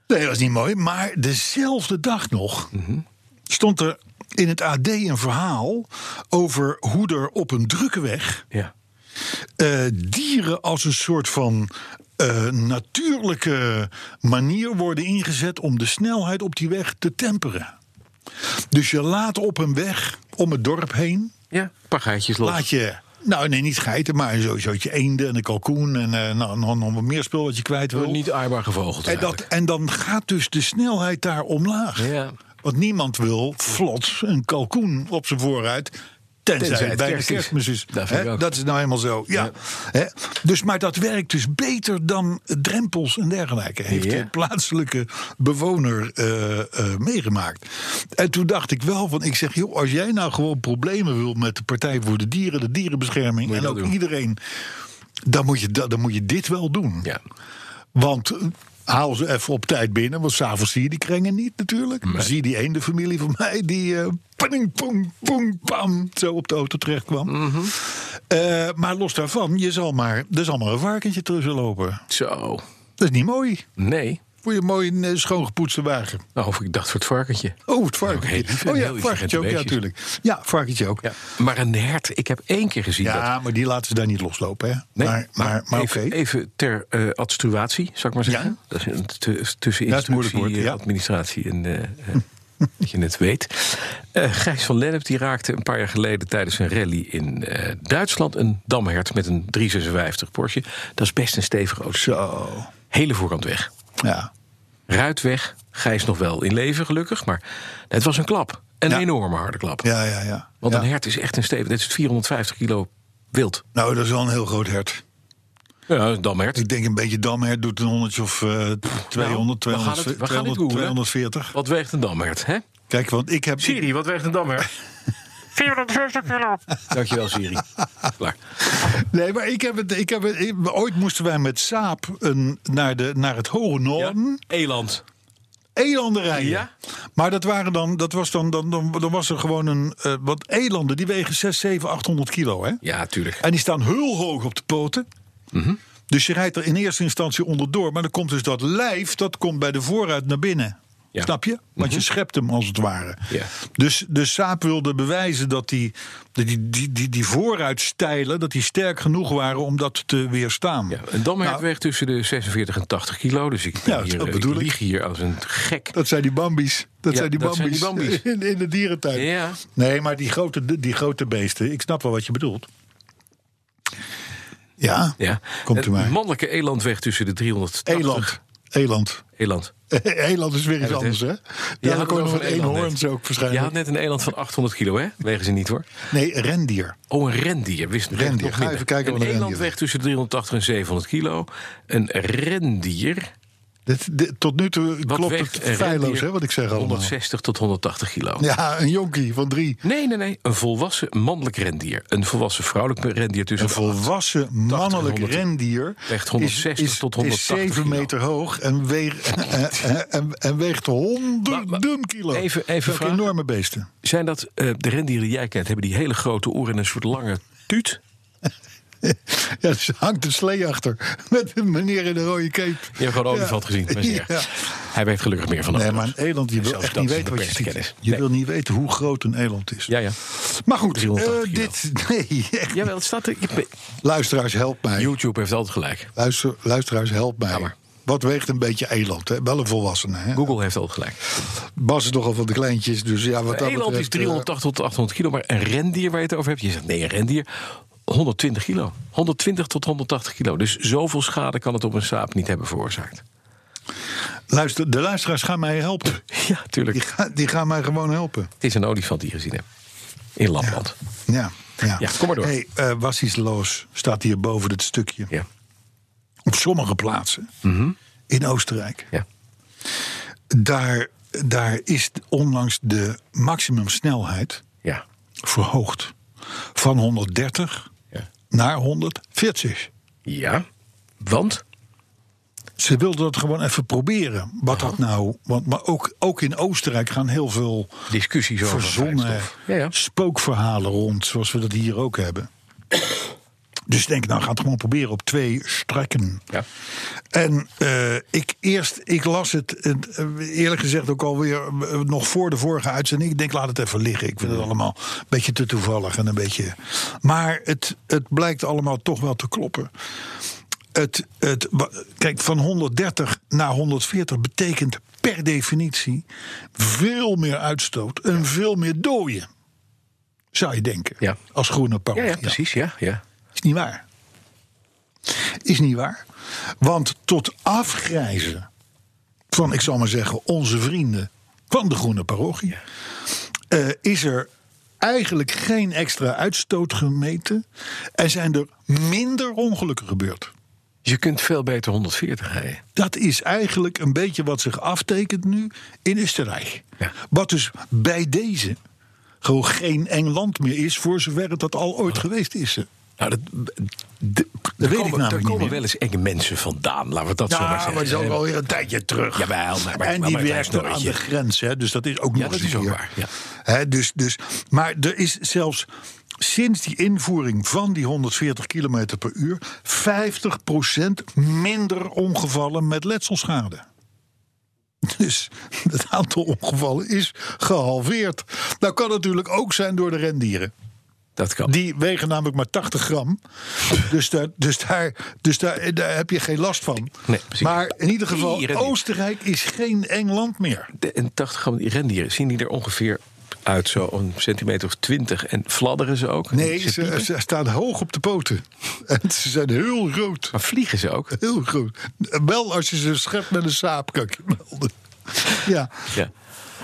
Speaker 3: Nee, dat was niet mooi. Maar dezelfde dag nog
Speaker 2: Mhm.
Speaker 3: stond er in het AD een verhaal over hoe er op een drukke weg
Speaker 2: Ja.
Speaker 3: eh, dieren als een soort van eh, natuurlijke manier worden ingezet om de snelheid op die weg te temperen. Dus je laat op een weg om het dorp heen,
Speaker 2: Ja, een paar gaatjes los.
Speaker 3: laat je. Nou, nee, niet geiten, maar sowieso je eenden en een kalkoen en eh, nou, nog, nog wat meer spul wat je kwijt wil.
Speaker 2: Niet aaibaar gevogeld
Speaker 3: En, dat,
Speaker 2: eigenlijk.
Speaker 3: en dan gaat dus de snelheid daar omlaag.
Speaker 2: Ja.
Speaker 3: Want niemand wil vlot een kalkoen op zijn vooruit. Tenzij, het
Speaker 2: Tenzij het
Speaker 3: bij de
Speaker 2: kerst is.
Speaker 3: kerstmis is.
Speaker 2: Dat vind ik
Speaker 3: Hè,
Speaker 2: ook.
Speaker 3: dat is nou helemaal zo. Ja. Hè? Dus, maar dat werkt dus beter dan drempels en dergelijke. Heeft
Speaker 2: Ja.
Speaker 3: de plaatselijke bewoner eh, eh, meegemaakt. En toen dacht ik wel van, ik zeg, joh, als jij nou gewoon problemen wil met de Partij voor de Dieren, de dierenbescherming
Speaker 2: je
Speaker 3: en
Speaker 2: dat
Speaker 3: ook
Speaker 2: doen.
Speaker 3: iedereen, dan moet, je, dat- dan moet je dit wel doen.
Speaker 2: Ja.
Speaker 3: Want eh, haal ze even op tijd binnen, want s'avonds zie je die krengen niet natuurlijk. Maar Zie je die ene familie van mij die eh ping, pong, pong, pam, zo op de auto terecht kwam.
Speaker 2: Mhm.
Speaker 3: Eh, maar los daarvan, je zal maar, er zal maar een varkentje tussen lopen.
Speaker 2: Zo.
Speaker 3: Dat is niet mooi.
Speaker 2: Nee.
Speaker 3: Voor je mooi een eh, schoongepoetste wagen.
Speaker 2: Nou, of ik dacht voor het varkentje.
Speaker 3: Oh, het
Speaker 2: Ook heel
Speaker 3: varkentje.
Speaker 2: lief en
Speaker 3: Oh ja,
Speaker 2: Nou, heel intelligente
Speaker 3: varkentje ook, ja,
Speaker 2: beestjes.
Speaker 3: natuurlijk. Ja, varkentje ook.
Speaker 2: Ja.
Speaker 3: Ja,
Speaker 2: Maar een hert, ik heb één keer gezien dat
Speaker 3: maar die laten ze daar niet loslopen, hè?
Speaker 2: Nee,
Speaker 3: maar maar, maar oké.
Speaker 2: even, even ter eh adstruatie, zou ik maar zeggen.
Speaker 3: Ja.
Speaker 2: Dat is een t- tussen
Speaker 3: Ja, dat is een moeilijk
Speaker 2: instructie,
Speaker 3: woord,
Speaker 2: eh,
Speaker 3: ja.
Speaker 2: administratie en... eh, eh, dat je het weet. Eh Gijs van Lennep die raakte een paar jaar geleden tijdens een rally in eh, Duitsland... een damhert met een 356 Porsche. Dat is best een stevige auto.
Speaker 3: Zo,
Speaker 2: Hele voorkant weg.
Speaker 3: ja.
Speaker 2: Ruit weg. Gijs nog wel in leven gelukkig, maar het was een klap. Een
Speaker 3: Ja.
Speaker 2: enorme harde klap.
Speaker 3: Ja, ja, ja.
Speaker 2: Want
Speaker 3: ja.
Speaker 2: een hert is echt een stevig... Dit is 450 kilo wild.
Speaker 3: Nou, dat is wel een heel groot hert.
Speaker 2: Ja, een damhert.
Speaker 3: Ik denk een beetje damhert doet een honderdje of eh 200,
Speaker 2: Nou, we gaan het-
Speaker 3: 200,
Speaker 2: we gaan het
Speaker 3: 200,
Speaker 2: googlen.
Speaker 3: 240.
Speaker 2: Wat weegt een damhert, hè?
Speaker 3: Kijk, want ik heb...
Speaker 2: Siri, wat weegt een dammer?
Speaker 4: 450 kilo.
Speaker 2: Dankjewel, Siri. Klaar.
Speaker 3: Nee, maar ik heb het... Ik heb het ik- ooit moesten wij met Saap een, naar, de, naar het Hoge Noorden.
Speaker 2: Eland.
Speaker 3: Elanden rijden.
Speaker 2: Ja.
Speaker 3: Maar dat, waren dan, dat was dan, dan, dan, dan was er gewoon een... eh want elanden, die wegen 6, 7, 800 kilo, hè?
Speaker 2: Ja, tuurlijk.
Speaker 3: En die staan heel hoog op de poten.
Speaker 2: Mhm.
Speaker 3: Dus je rijdt er in eerste instantie onderdoor. Maar dan komt dus dat lijf, dat komt bij de vooruit naar binnen.
Speaker 2: Ja. Mhm.
Speaker 3: Snap je? Want je schept hem als het ware.
Speaker 2: Ja.
Speaker 3: Dus, dus Saap wilde bewijzen dat die, dat die, die, die, die vooruitstijlen... dat die sterk genoeg waren om dat te weerstaan.
Speaker 2: Ja, een damhert
Speaker 3: Nou,
Speaker 2: weegt tussen de 46 en 80 kilo. Dus ik, ben
Speaker 3: Ja,
Speaker 2: hier,
Speaker 3: dat
Speaker 2: eh,
Speaker 3: bedoel
Speaker 2: ik
Speaker 3: ik.
Speaker 2: lieg hier als een gek.
Speaker 3: Dat zijn die bambies. Dat,
Speaker 2: Ja,
Speaker 3: zijn, die
Speaker 2: dat zijn die
Speaker 3: bambies In, in de dierentuin.
Speaker 2: Ja.
Speaker 3: Nee, maar die grote, die grote beesten... ik snap wel wat je bedoelt. Ja,
Speaker 2: Ja.
Speaker 3: komt u
Speaker 2: Een
Speaker 3: maar.
Speaker 2: mannelijke eland weegt tussen de 380...
Speaker 3: Eland. Eland.
Speaker 2: Eland.
Speaker 3: Eland is weer iets
Speaker 2: dat
Speaker 3: anders,
Speaker 2: is-
Speaker 3: hè?
Speaker 2: Je
Speaker 3: Ja,
Speaker 2: had
Speaker 3: dan
Speaker 2: het
Speaker 3: komen
Speaker 2: over
Speaker 3: van
Speaker 2: een eland
Speaker 3: eenhoorns
Speaker 2: net.
Speaker 3: ook
Speaker 2: Je
Speaker 3: waarschijnlijk.
Speaker 2: had net een eland van 800 kilo, hè? Wegen ze niet, hoor.
Speaker 3: Nee, rendier.
Speaker 2: Oh, een rendier. Wist wist
Speaker 3: Rendier.
Speaker 2: nog
Speaker 3: Ga
Speaker 2: minder.
Speaker 3: even kijken wat
Speaker 2: Een
Speaker 3: een
Speaker 2: eland
Speaker 3: rendier
Speaker 2: weegt tussen 380 en 700 kilo. Een rendier...
Speaker 3: Dit, dit- tot nu toe
Speaker 2: Wat
Speaker 3: klopt
Speaker 2: weegt
Speaker 3: het
Speaker 2: een
Speaker 3: feilloos,
Speaker 2: rendier?
Speaker 3: hè, wat ik zeg allemaal.
Speaker 2: 160 tot 180 kilo.
Speaker 3: Ja, een jonkie van drie.
Speaker 2: Nee, nee, nee. Een volwassen mannelijk rendier. Een volwassen vrouwelijk rendier tussen...
Speaker 3: Een
Speaker 2: de
Speaker 3: volwassen mannelijk
Speaker 2: 100
Speaker 3: rendier
Speaker 2: Weegt 160
Speaker 3: is, is,
Speaker 2: tot
Speaker 3: is
Speaker 2: 180
Speaker 3: 7
Speaker 2: kilo.
Speaker 3: meter hoog en, weegt en, en, en weegt
Speaker 2: Maar-
Speaker 3: honderden
Speaker 2: maar-
Speaker 3: kilo.
Speaker 2: even- even
Speaker 3: Zulke
Speaker 2: vragen.
Speaker 3: enorme beesten.
Speaker 2: Zijn dat eh, de rendieren die jij kent? Hebben die hele grote oren en een soort lange tuut?
Speaker 3: Ja, er hangt een slee achter met een meneer in de rode cape.
Speaker 2: Je hebt gewoon een olifant gezien. maar zeer.
Speaker 3: Ja.
Speaker 2: Hij weet gelukkig meer van
Speaker 3: Nee,
Speaker 2: auto's.
Speaker 3: maar een eland, je
Speaker 2: En
Speaker 3: wil
Speaker 2: zelfs
Speaker 3: echt
Speaker 2: dat
Speaker 3: niet
Speaker 2: is
Speaker 3: weten
Speaker 2: een
Speaker 3: wat je ziet.
Speaker 2: beperkte
Speaker 3: Je
Speaker 2: kennis. Nee.
Speaker 3: wil niet weten hoe groot een eland is.
Speaker 2: Ja, ja.
Speaker 3: Maar goed, eh
Speaker 2: 380
Speaker 3: dit... Nee, echt.
Speaker 2: Jawel, het staat er. je-
Speaker 3: Luisteraars, help mij.
Speaker 2: YouTube heeft altijd gelijk.
Speaker 3: Luister, luisteraars, help mij.
Speaker 2: maar.
Speaker 3: Wat weegt een beetje eland? Hè? Wel een volwassene. Hè?
Speaker 2: Google heeft altijd gelijk.
Speaker 3: Bas is nogal van de kleintjes, dus ja, wat dat
Speaker 2: Een eland
Speaker 3: betreft,
Speaker 2: is 380 tot 800 kilo, maar een rendier waar je het over hebt, je zegt nee, een rendier, 120 kilo. 120 tot 180 kilo. Dus zoveel schade kan het op een saap niet hebben veroorzaakt.
Speaker 3: eh, luister, de luisteraars gaan mij helpen.
Speaker 2: Ja, tuurlijk.
Speaker 3: Die, ga- die gaan mij gewoon helpen.
Speaker 2: Het is een olifant die je gezien hebt. In Lapland.
Speaker 3: Ja, ja.
Speaker 2: Ja, kom maar door.
Speaker 3: Hey, eh, was iets los staat hier boven dit stukje.
Speaker 2: Ja. Mhm.
Speaker 3: Op sommige plaatsen in Oostenrijk.
Speaker 2: ja.
Speaker 3: Daar, daar is onlangs de maximumsnelheid
Speaker 2: Ja.
Speaker 3: verhoogd. Van 130
Speaker 2: Ja.
Speaker 3: naar 140.
Speaker 2: Ja. Want?
Speaker 3: Ze wilden dat gewoon even proberen. Wat dat nou. Want, maar ook, ook in Oostenrijk gaan heel veel
Speaker 2: Discussies over
Speaker 3: verzonnen
Speaker 2: vrijstof. Ja, ja.
Speaker 3: spookverhalen rond. Zoals we dat hier ook hebben. Dus ik denk, nou, gaat het gewoon proberen op twee strekken.
Speaker 2: Ja.
Speaker 3: En eh, ik eerst, ik las het eh, eerlijk gezegd ook alweer eh, nog voor de vorige uitzending. Ik denk, laat het even liggen. Ik
Speaker 2: Mm.
Speaker 3: vind het allemaal een beetje te toevallig en een beetje. Maar het, het blijkt allemaal toch wel te kloppen. Het, het, wa- kijk, van 130 naar 140 betekent per definitie veel meer uitstoot en veel meer dooien. Zou je denken.
Speaker 2: Ja.
Speaker 3: Als groene
Speaker 2: Ja,
Speaker 3: parochia.
Speaker 2: ja, precies. Ja, ja.
Speaker 3: Is niet waar. Is niet waar. Want tot afgrijzen van, ik zal maar zeggen, onze vrienden van de Groene Parochie, eh, is er eigenlijk geen extra uitstoot gemeten en zijn er minder ongelukken gebeurd.
Speaker 2: Je kunt veel beter 140 rijden.
Speaker 3: Dat is eigenlijk een beetje wat zich aftekent nu in Oostenrijk.
Speaker 2: Ja.
Speaker 3: Wat dus bij deze gewoon geen eng land meer is, voor zover het dat al ooit geweest is.
Speaker 2: Nou, dat,
Speaker 3: Dat weet ik
Speaker 2: er komen,
Speaker 3: namelijk
Speaker 2: er
Speaker 3: niet
Speaker 2: komen
Speaker 3: meer.
Speaker 2: wel eens enge mensen vandaan, laten we dat zo maar
Speaker 3: Ja,
Speaker 2: zeggen.
Speaker 3: Nou, maar het is ook alweer een tijdje terug.
Speaker 2: Jawel, maar- maar-
Speaker 3: en
Speaker 2: maar
Speaker 3: die
Speaker 2: een klein
Speaker 3: werkt nog aan
Speaker 2: snorretje.
Speaker 3: de grens, hè, dus dat is ook
Speaker 2: Ja,
Speaker 3: nog
Speaker 2: dat
Speaker 3: eens
Speaker 2: is ook
Speaker 3: hier.
Speaker 2: waar, ja.
Speaker 3: Hè, dus, dus, maar er is zelfs sinds die invoering van die 140 km per uur... 50% minder ongevallen met letselschade. Dus het aantal ongevallen is gehalveerd. Nou kan natuurlijk ook zijn door de rendieren.
Speaker 2: Dat kan.
Speaker 3: Die wegen namelijk maar 80 gram. Dus daar, dus daar, dus daar, daar heb je geen last van.
Speaker 2: Nee, precies.
Speaker 3: maar in ieder geval,
Speaker 2: Dieren niet.
Speaker 3: Oostenrijk is geen eng land meer.
Speaker 2: De- en 80 gram die rendieren, zien die er ongeveer uit zo een centimeter of 20? En fladderen ze ook?
Speaker 3: Nee,
Speaker 2: En ze
Speaker 3: ze,
Speaker 2: piepen?
Speaker 3: ze staan hoog op de poten. En ze zijn heel groot.
Speaker 2: Maar vliegen ze ook?
Speaker 3: Heel groot. Wel als je ze schept met een saap, kan ik je melden. Ja,
Speaker 2: Ja.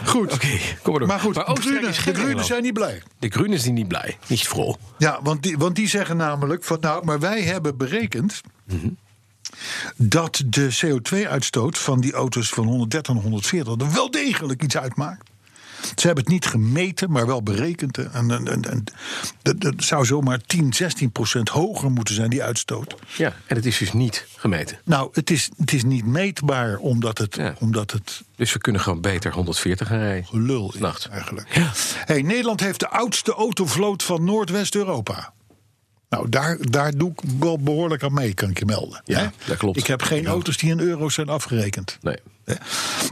Speaker 3: goed.
Speaker 2: Oké, kom maar door.
Speaker 3: Maar goed,
Speaker 2: Maar
Speaker 3: de
Speaker 2: Oostenrijk
Speaker 3: Grunen,
Speaker 2: is geen
Speaker 3: de Grunen
Speaker 2: Engeland.
Speaker 3: zijn niet blij.
Speaker 2: De Groenen zijn niet blij, niet vrol.
Speaker 3: Ja, want die, want die zeggen namelijk van nou, maar wij hebben berekend dat de CO2-uitstoot van die auto's van 130 en 140 er wel degelijk iets uitmaakt. Ze hebben het niet gemeten, maar wel berekend. hè. En, en, en, en dat, dat zou zomaar 10, 16 procent hoger moeten zijn, die uitstoot.
Speaker 2: Ja, en het is dus niet gemeten.
Speaker 3: Nou, het is, het is niet meetbaar omdat het,
Speaker 2: Ja.
Speaker 3: omdat het
Speaker 2: Dus we kunnen gewoon beter 140 gaan rijden.
Speaker 3: gelul is
Speaker 2: Nacht.
Speaker 3: eigenlijk.
Speaker 2: Ja.
Speaker 3: Hey, Nederland heeft de oudste autovloot van Noordwest-Europa. Nou, daar, daar doe ik wel behoorlijk aan mee, kan ik je melden.
Speaker 2: Ja,
Speaker 3: hè?
Speaker 2: dat klopt.
Speaker 3: Ik heb geen
Speaker 2: Ja.
Speaker 3: auto's die in euro's zijn afgerekend.
Speaker 2: Nee.
Speaker 3: hè?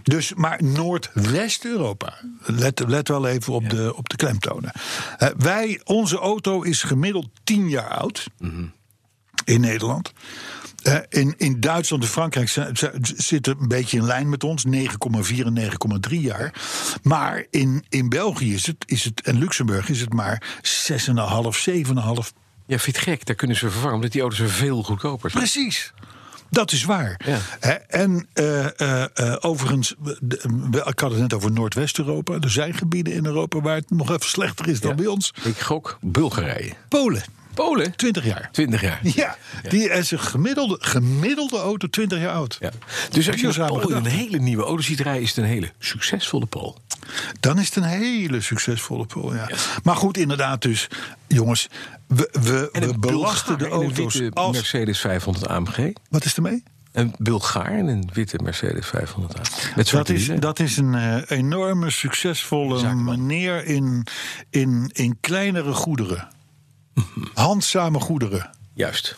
Speaker 3: Dus, maar Noordwest-Europa. Let, let wel even op, de, op de klemtonen. Eh, wij, onze auto is gemiddeld 10 jaar oud in Nederland. Eh, in, in Duitsland en Frankrijk zijn- zijn- zitten een beetje in lijn met ons, 9,4 en 9,3 jaar. Maar in, in België is het, is het, en Luxemburg is het maar 6,5, 7,5
Speaker 2: Ja, vind je het gek? Daar kunnen ze vervangen, omdat die auto's er veel goedkoper zijn.
Speaker 3: Precies. Dat is waar.
Speaker 2: Ja.
Speaker 3: Hè, En eh, eh, eh, overigens, we- de- we- ik had het net over Noordwest-Europa. Er zijn gebieden in Europa waar het nog even slechter is dan bij ons.
Speaker 2: Ik gok Bulgarije.
Speaker 3: Polen,
Speaker 2: Polen?
Speaker 3: 20 jaar.
Speaker 2: 20 jaar.
Speaker 3: Ja, die is een gemiddelde, gemiddelde auto 20 jaar oud.
Speaker 2: Ja. Dus als je
Speaker 3: Duurzame
Speaker 2: naar Polen een
Speaker 3: gedachte.
Speaker 2: hele nieuwe auto ziet rijden, is het een hele succesvolle Pool.
Speaker 3: Dan is het een hele succesvolle pool. Ja. Maar goed, inderdaad, dus jongens, we, we,
Speaker 2: En
Speaker 3: we
Speaker 2: een
Speaker 3: belasten de
Speaker 2: Bulgaar in
Speaker 3: auto's
Speaker 2: Een witte
Speaker 3: als.
Speaker 2: Mercedes 500 AMG.
Speaker 3: Wat is ermee?
Speaker 2: Een Bulgaar in een witte Mercedes 500 AMG. Met
Speaker 3: Dat
Speaker 2: zwarte
Speaker 3: is,
Speaker 2: wielen.
Speaker 3: dat is een eh, enorme, succesvolle meneer in, in, in kleinere goederen. Mhm. Handzame goederen.
Speaker 2: Juist.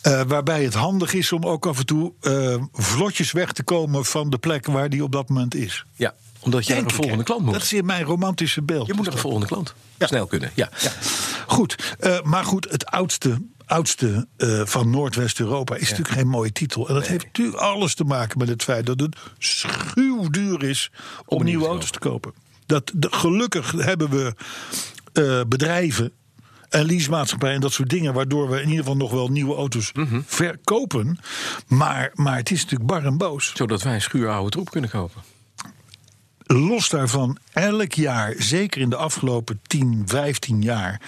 Speaker 3: Eh, waarbij het handig is om ook af en toe eh, vlotjes weg te komen van de plek waar die op dat moment is.
Speaker 2: Ja, omdat je
Speaker 3: Denk
Speaker 2: naar een
Speaker 3: ik,
Speaker 2: volgende
Speaker 3: hè.
Speaker 2: klant moet.
Speaker 3: Dat is in mijn romantische beeld.
Speaker 2: Je moet naar een volgende klant. Snel kunnen, ja.
Speaker 3: Ja. Goed, eh, maar goed, het oudste, oudste eh, van Noordwest-Europa is natuurlijk geen mooie titel. En dat heeft natuurlijk alles te maken met het feit dat het schuwduur is om, nieuwe
Speaker 2: een nieuwe
Speaker 3: auto's te kopen. Dat, de- gelukkig hebben we eh, bedrijven en leasemaatschappijen en dat soort dingen... waardoor we in ieder geval nog wel nieuwe auto's verkopen. Maar, maar het is natuurlijk bar en boos.
Speaker 2: Zodat wij een schuur oude troep kunnen kopen.
Speaker 3: los daarvan, elk jaar, zeker in de afgelopen 10, 15 jaar,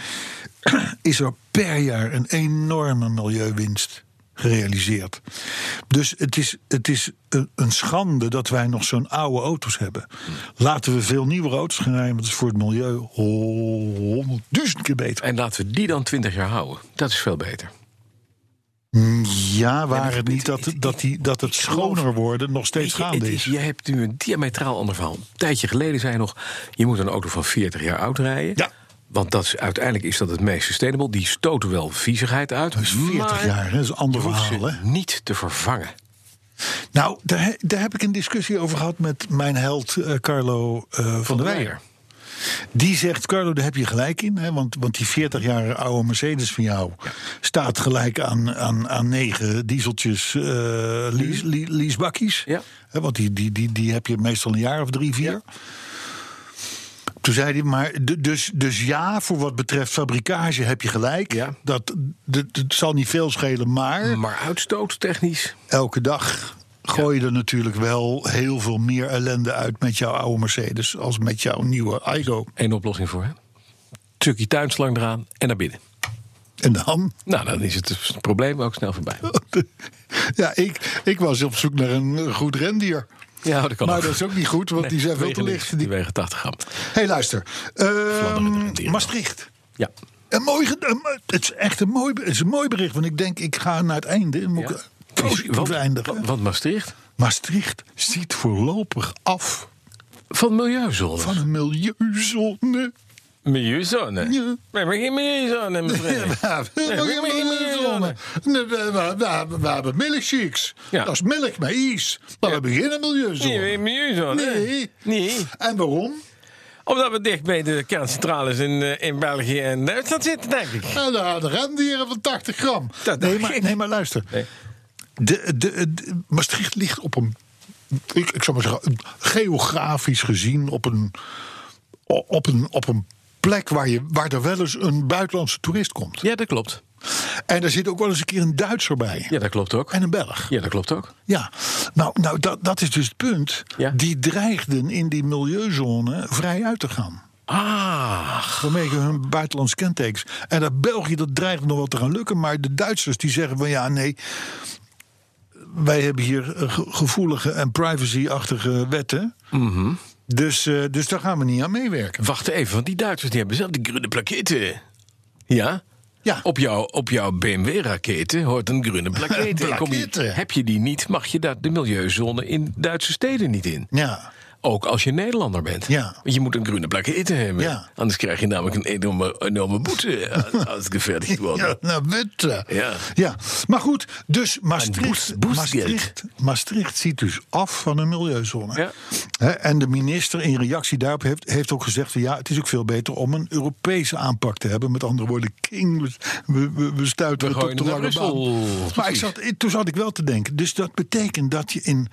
Speaker 3: is er per jaar een enorme milieuwinst gerealiseerd. Dus het is, het is een, een schande dat wij nog zo'n oude auto's hebben. Laten we veel nieuwere auto's gaan rijden, want het is voor het milieu honderdduizend keer beter.
Speaker 2: En laten we die dan 20 jaar houden. Dat is veel beter.
Speaker 3: Ja, waar het niet dat, dat, die, dat het schoner worden nog steeds
Speaker 2: Weet je, het
Speaker 3: gaande is.
Speaker 2: Je hebt nu een diametraal ander verhaal. Een tijdje geleden zei je nog, je moet een auto van 40 jaar oud rijden.
Speaker 3: Ja.
Speaker 2: Want dat is, uiteindelijk is dat het meest sustainable. Die stoten wel viezigheid uit.
Speaker 3: Dat is 40
Speaker 2: maar
Speaker 3: jaar, hè, dat is een ander
Speaker 2: je hoeft
Speaker 3: verhaal. Hè?
Speaker 2: ze niet te vervangen.
Speaker 3: Nou, daar, he- daar heb ik een discussie over gehad met mijn held eh, Carlo eh, van der Weijer. Die zegt, Carlo, daar heb je gelijk in. Hè, want, want die 40 jaar oude Mercedes van jou staat gelijk aan, aan, aan negen dieseltjes, eh lease, le- leasebakkies.
Speaker 2: Mhm. Ja.
Speaker 3: Hè, want die, die, die, die heb je meestal een jaar of drie, vier. Toen zei hij, maar du- dus, dus ja, voor wat betreft fabrikage heb je gelijk.
Speaker 2: Ja. Mhm.
Speaker 3: Dat, dat, dat zal niet veel schelen, maar
Speaker 2: Maar uitstoot technisch.
Speaker 3: elke dag gooi je er natuurlijk wel heel veel meer ellende uit met jouw oude Mercedes als met jouw nieuwe Igo.
Speaker 2: Eén oplossing voor, hè? Tukkie tuinslang eraan en naar binnen.
Speaker 3: En dan?
Speaker 2: Nou, dan is het, het probleem ook snel voorbij.
Speaker 3: Ja, ik, ik was op zoek naar een goed rendier.
Speaker 2: Ja, dat kan
Speaker 3: maar
Speaker 2: ook.
Speaker 3: dat is ook niet goed, want die zijn veel
Speaker 2: Wegen
Speaker 3: te
Speaker 2: niks.
Speaker 3: licht.
Speaker 2: Die
Speaker 3: Die...
Speaker 2: wegen 80 gram.
Speaker 3: hey, luister.
Speaker 2: Fladderende
Speaker 3: Ehm
Speaker 2: rendieren.
Speaker 3: Maastricht.
Speaker 2: Ja.
Speaker 3: Een mooi, ge- een- het is echt een mooi, het is een mooi bericht, want ik denk ik ga naar het einde. en Moet
Speaker 2: Ja.
Speaker 3: ik positief
Speaker 2: Want-
Speaker 3: eindigen.
Speaker 2: Want Maastricht
Speaker 3: Maastricht ziet voorlopig af
Speaker 2: van milieuzone.
Speaker 3: van een milieuzone.
Speaker 2: Milieuzone?
Speaker 3: Ja.
Speaker 2: We hebben geen milieuzone, mevrouw.
Speaker 3: Ja, we hebben
Speaker 2: Nee,
Speaker 3: geen
Speaker 2: maar geen
Speaker 3: miljoenen. Nee, we- we- we- We hebben milkshakes.
Speaker 2: Ja.
Speaker 3: Dat is melk met ijs. Maar we beginnen
Speaker 2: Nee, we hebben
Speaker 3: milieuzone.
Speaker 2: milieuzone.
Speaker 3: Nee.
Speaker 2: Nee.
Speaker 3: En waarom?
Speaker 2: Omdat we dicht bij de kerncentrales in, eh, in België en Duitsland zitten, denk ik.
Speaker 3: En Nou, daar de rendieren van 80 gram.
Speaker 2: Dat
Speaker 3: nee,
Speaker 2: dacht
Speaker 3: maar,
Speaker 2: ik.
Speaker 3: nee, maar luister.
Speaker 2: Nee.
Speaker 3: De, de, de- Maastricht ligt op een... Ik, ik zou maar zeggen, geografisch gezien op een, op een, op een plek waar, je, waar er wel eens een buitenlandse toerist komt.
Speaker 2: Ja, dat klopt.
Speaker 3: En er zit ook wel eens een keer een Duitser bij.
Speaker 2: Ja, dat klopt ook.
Speaker 3: En een Belg.
Speaker 2: Ja, dat klopt ook.
Speaker 3: Ja, nou, nou dat, dat is dus het punt.
Speaker 2: Ja.
Speaker 3: Die dreigden in die milieuzone vrij uit te gaan.
Speaker 2: Ah.
Speaker 3: Vanwege hun buitenlandse kentekens. En dat België, dat dreigt nog wel te gaan lukken. Maar de Duitsers die zeggen van ja, nee. Wij hebben hier eh, ge- gevoelige en privacy-achtige wetten. dus, eh, dus daar gaan we niet aan meewerken.
Speaker 2: Wacht even, want die Duitsers die hebben zelf die groene plaketten. Ja?
Speaker 3: Ja.
Speaker 2: Op jouw, op jouw BMW-raketen hoort een groene plakette. En kom je-
Speaker 3: Plakette.
Speaker 2: heb je die niet, mag je daar de milieuzone in Duitse steden niet in.
Speaker 3: Ja,
Speaker 2: Ook als je Nederlander bent.
Speaker 3: Ja.
Speaker 2: Want je moet een groene plakette hebben.
Speaker 3: Ja.
Speaker 2: Anders krijg je namelijk een enorme, enorme boete als- als het geverdigd wordt.
Speaker 3: ja nou, wetten.
Speaker 2: Ja.
Speaker 3: ja. Maar goed, dus Maastricht,
Speaker 2: boest- boestgeld.
Speaker 3: Maastricht, Maastricht ziet dus af van een milieuzone.
Speaker 2: Ja.
Speaker 3: Hè, en de minister in reactie daarop heeft, heeft ook gezegd... van, ja, het is ook veel beter om een Europese aanpak te hebben. Met andere woorden, king, we- we, we, we stuiten
Speaker 2: We
Speaker 3: het op
Speaker 2: gooien
Speaker 3: de
Speaker 2: het
Speaker 3: lange
Speaker 2: naar
Speaker 3: baan.
Speaker 2: Brussel.
Speaker 3: Maar ik
Speaker 2: Precies.
Speaker 3: zat, ik- toen zat ik wel te denken. Dus dat betekent dat je in...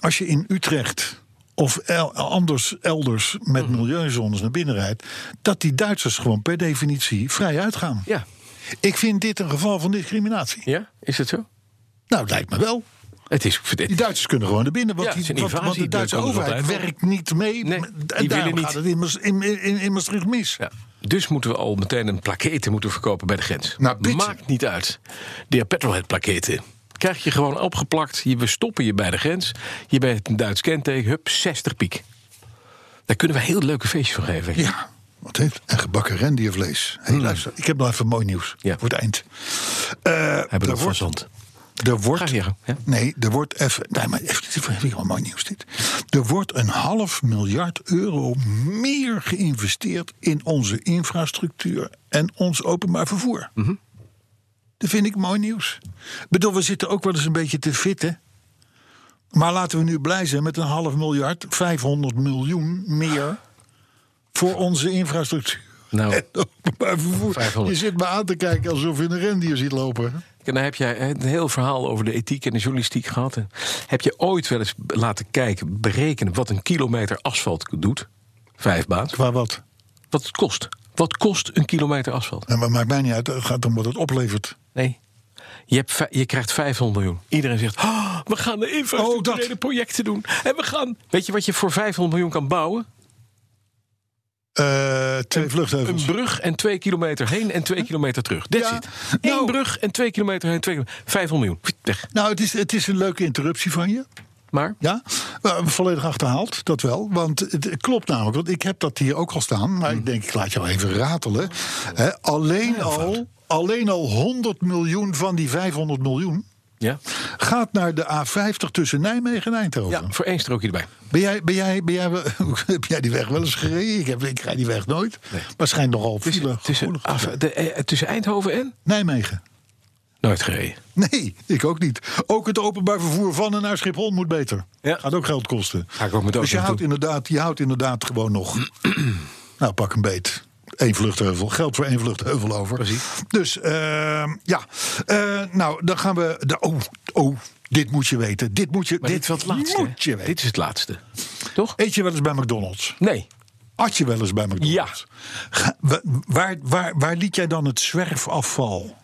Speaker 3: als je in Utrecht of el- anders elders met
Speaker 2: Mhm.
Speaker 3: milieuzones naar binnen rijdt... dat die Duitsers gewoon per definitie vrij uitgaan.
Speaker 2: Ja.
Speaker 3: Ik vind dit een geval van discriminatie.
Speaker 2: ja, is dat zo?
Speaker 3: Nou, het lijkt me wel.
Speaker 2: Het is, het-
Speaker 3: Die Duitsers kunnen gewoon naar binnen. Want,
Speaker 2: Ja, het is
Speaker 3: die,
Speaker 2: een
Speaker 3: want, want
Speaker 2: invasie,
Speaker 3: de Duitse
Speaker 2: daar komen ze
Speaker 3: overheid
Speaker 2: altijd voor.
Speaker 3: werkt niet mee.
Speaker 2: Nee,
Speaker 3: en daarom
Speaker 2: die willen niet.
Speaker 3: gaat het in, Maas- in, in, in Maastricht mis.
Speaker 2: Ja. Dus moeten we al meteen een plaquette moeten verkopen bij de grens.
Speaker 3: Nou, bitch.
Speaker 2: Maakt niet uit. De petrolhead plaquette. Krijg je gewoon opgeplakt. Je, we stoppen je bij de grens. Je bent een Duits kenteken. Hup, 60 piek. Daar kunnen we heel leuke feestjes van geven.
Speaker 3: Ja, wat heeft? En gebakken rendiervlees. Hey, luister, ik heb nog even mooi nieuws
Speaker 2: Hmm. Ja.
Speaker 3: voor het eind. Eh
Speaker 2: Hebben we
Speaker 3: er wordt,
Speaker 2: nog verzand.
Speaker 3: er wordt,
Speaker 2: Ga zeggen. Ja?
Speaker 3: nee, er wordt even, nee, maar even, dit vind ik wel mooi nieuws dit. Er wordt een half miljard euro meer geïnvesteerd in onze infrastructuur en ons openbaar vervoer.
Speaker 2: Mhm.
Speaker 3: Dat vind ik mooi nieuws. Ik bedoel, we zitten ook wel eens een beetje te fitten. Maar laten we nu blij zijn met een half miljard, 500 miljoen meer voor onze infrastructuur.
Speaker 2: Nou.
Speaker 3: En openbaar vervoer.
Speaker 2: 500.
Speaker 3: Je zit me aan te kijken alsof je een rendier ziet lopen.
Speaker 2: En dan heb jij een heel verhaal over de ethiek en de journalistiek gehad. En Heb je ooit wel eens laten kijken, berekenen wat een kilometer asfalt doet? Vijf baat.
Speaker 3: Qua wat?
Speaker 2: Wat het kost. Wat kost een kilometer asfalt?
Speaker 3: En wat maakt mij niet uit. Het gaat om wat het oplevert.
Speaker 2: Nee. Je, hebt, vij- je krijgt 500 miljoen. Iedereen zegt, "Oh, we gaan de infrastructurele
Speaker 3: Oh, dat.
Speaker 2: projecten doen. En we gaan... Weet je wat je voor 500 miljoen kan bouwen?
Speaker 3: Eh, twee vluchtheuvels.
Speaker 2: Een brug en twee kilometer heen en twee kilometer terug. That's
Speaker 3: Ja,
Speaker 2: it.
Speaker 3: nou-
Speaker 2: Eén brug en twee kilometer heen, twee kilometer... 500 miljoen. Weg.
Speaker 3: Nou, het is, het is een leuke interruptie van je.
Speaker 2: Maar...
Speaker 3: Ja, Eh, volledig achterhaald, dat wel. Want het klopt namelijk, want ik heb dat hier ook al staan. Maar ik denk, ik laat jou even ratelen. Hè, alleen, al, alleen al 100 miljoen van die 500 miljoen
Speaker 2: Ja,
Speaker 3: gaat naar de A50 tussen Nijmegen en Eindhoven.
Speaker 2: ja voor één strookje erbij.
Speaker 3: Ben, jij, ben, jij, ben, jij, wel- heb jij die weg wel eens gereden? Ik, heb, ik rijd die weg nooit. Maar schijnt nogal file
Speaker 2: Tussen, tussen,
Speaker 3: gevoelig te
Speaker 2: af-
Speaker 3: zijn.
Speaker 2: de- eh, tussen Eindhoven en...
Speaker 3: Nijmegen.
Speaker 2: Nooit gereden.
Speaker 3: Nee, ik ook niet. Ook het openbaar vervoer van en naar Schiphol moet beter.
Speaker 2: Ja.
Speaker 3: Gaat ook geld kosten.
Speaker 2: Ga ik ook met de
Speaker 3: dus je
Speaker 2: auto
Speaker 3: houdt, inderdaad, je houdt inderdaad gewoon nog. nou, pak een beet. Eén vluchtheuvel. Geld voor één vluchtheuvel over.
Speaker 2: Precies.
Speaker 3: Dus ehm, ja. Eh, nou, dan gaan we. De, oh, oh, dit moet je weten. Dit moet je.
Speaker 2: Maar dit, is wel het laatste. hè?
Speaker 3: Moet je weten.
Speaker 2: Dit is het laatste. Toch?
Speaker 3: Eet je wel eens bij McDonald's?
Speaker 2: Nee.
Speaker 3: At je wel eens bij McDonald's? Ja. Waar, waar, waar liet jij dan het zwerfafval?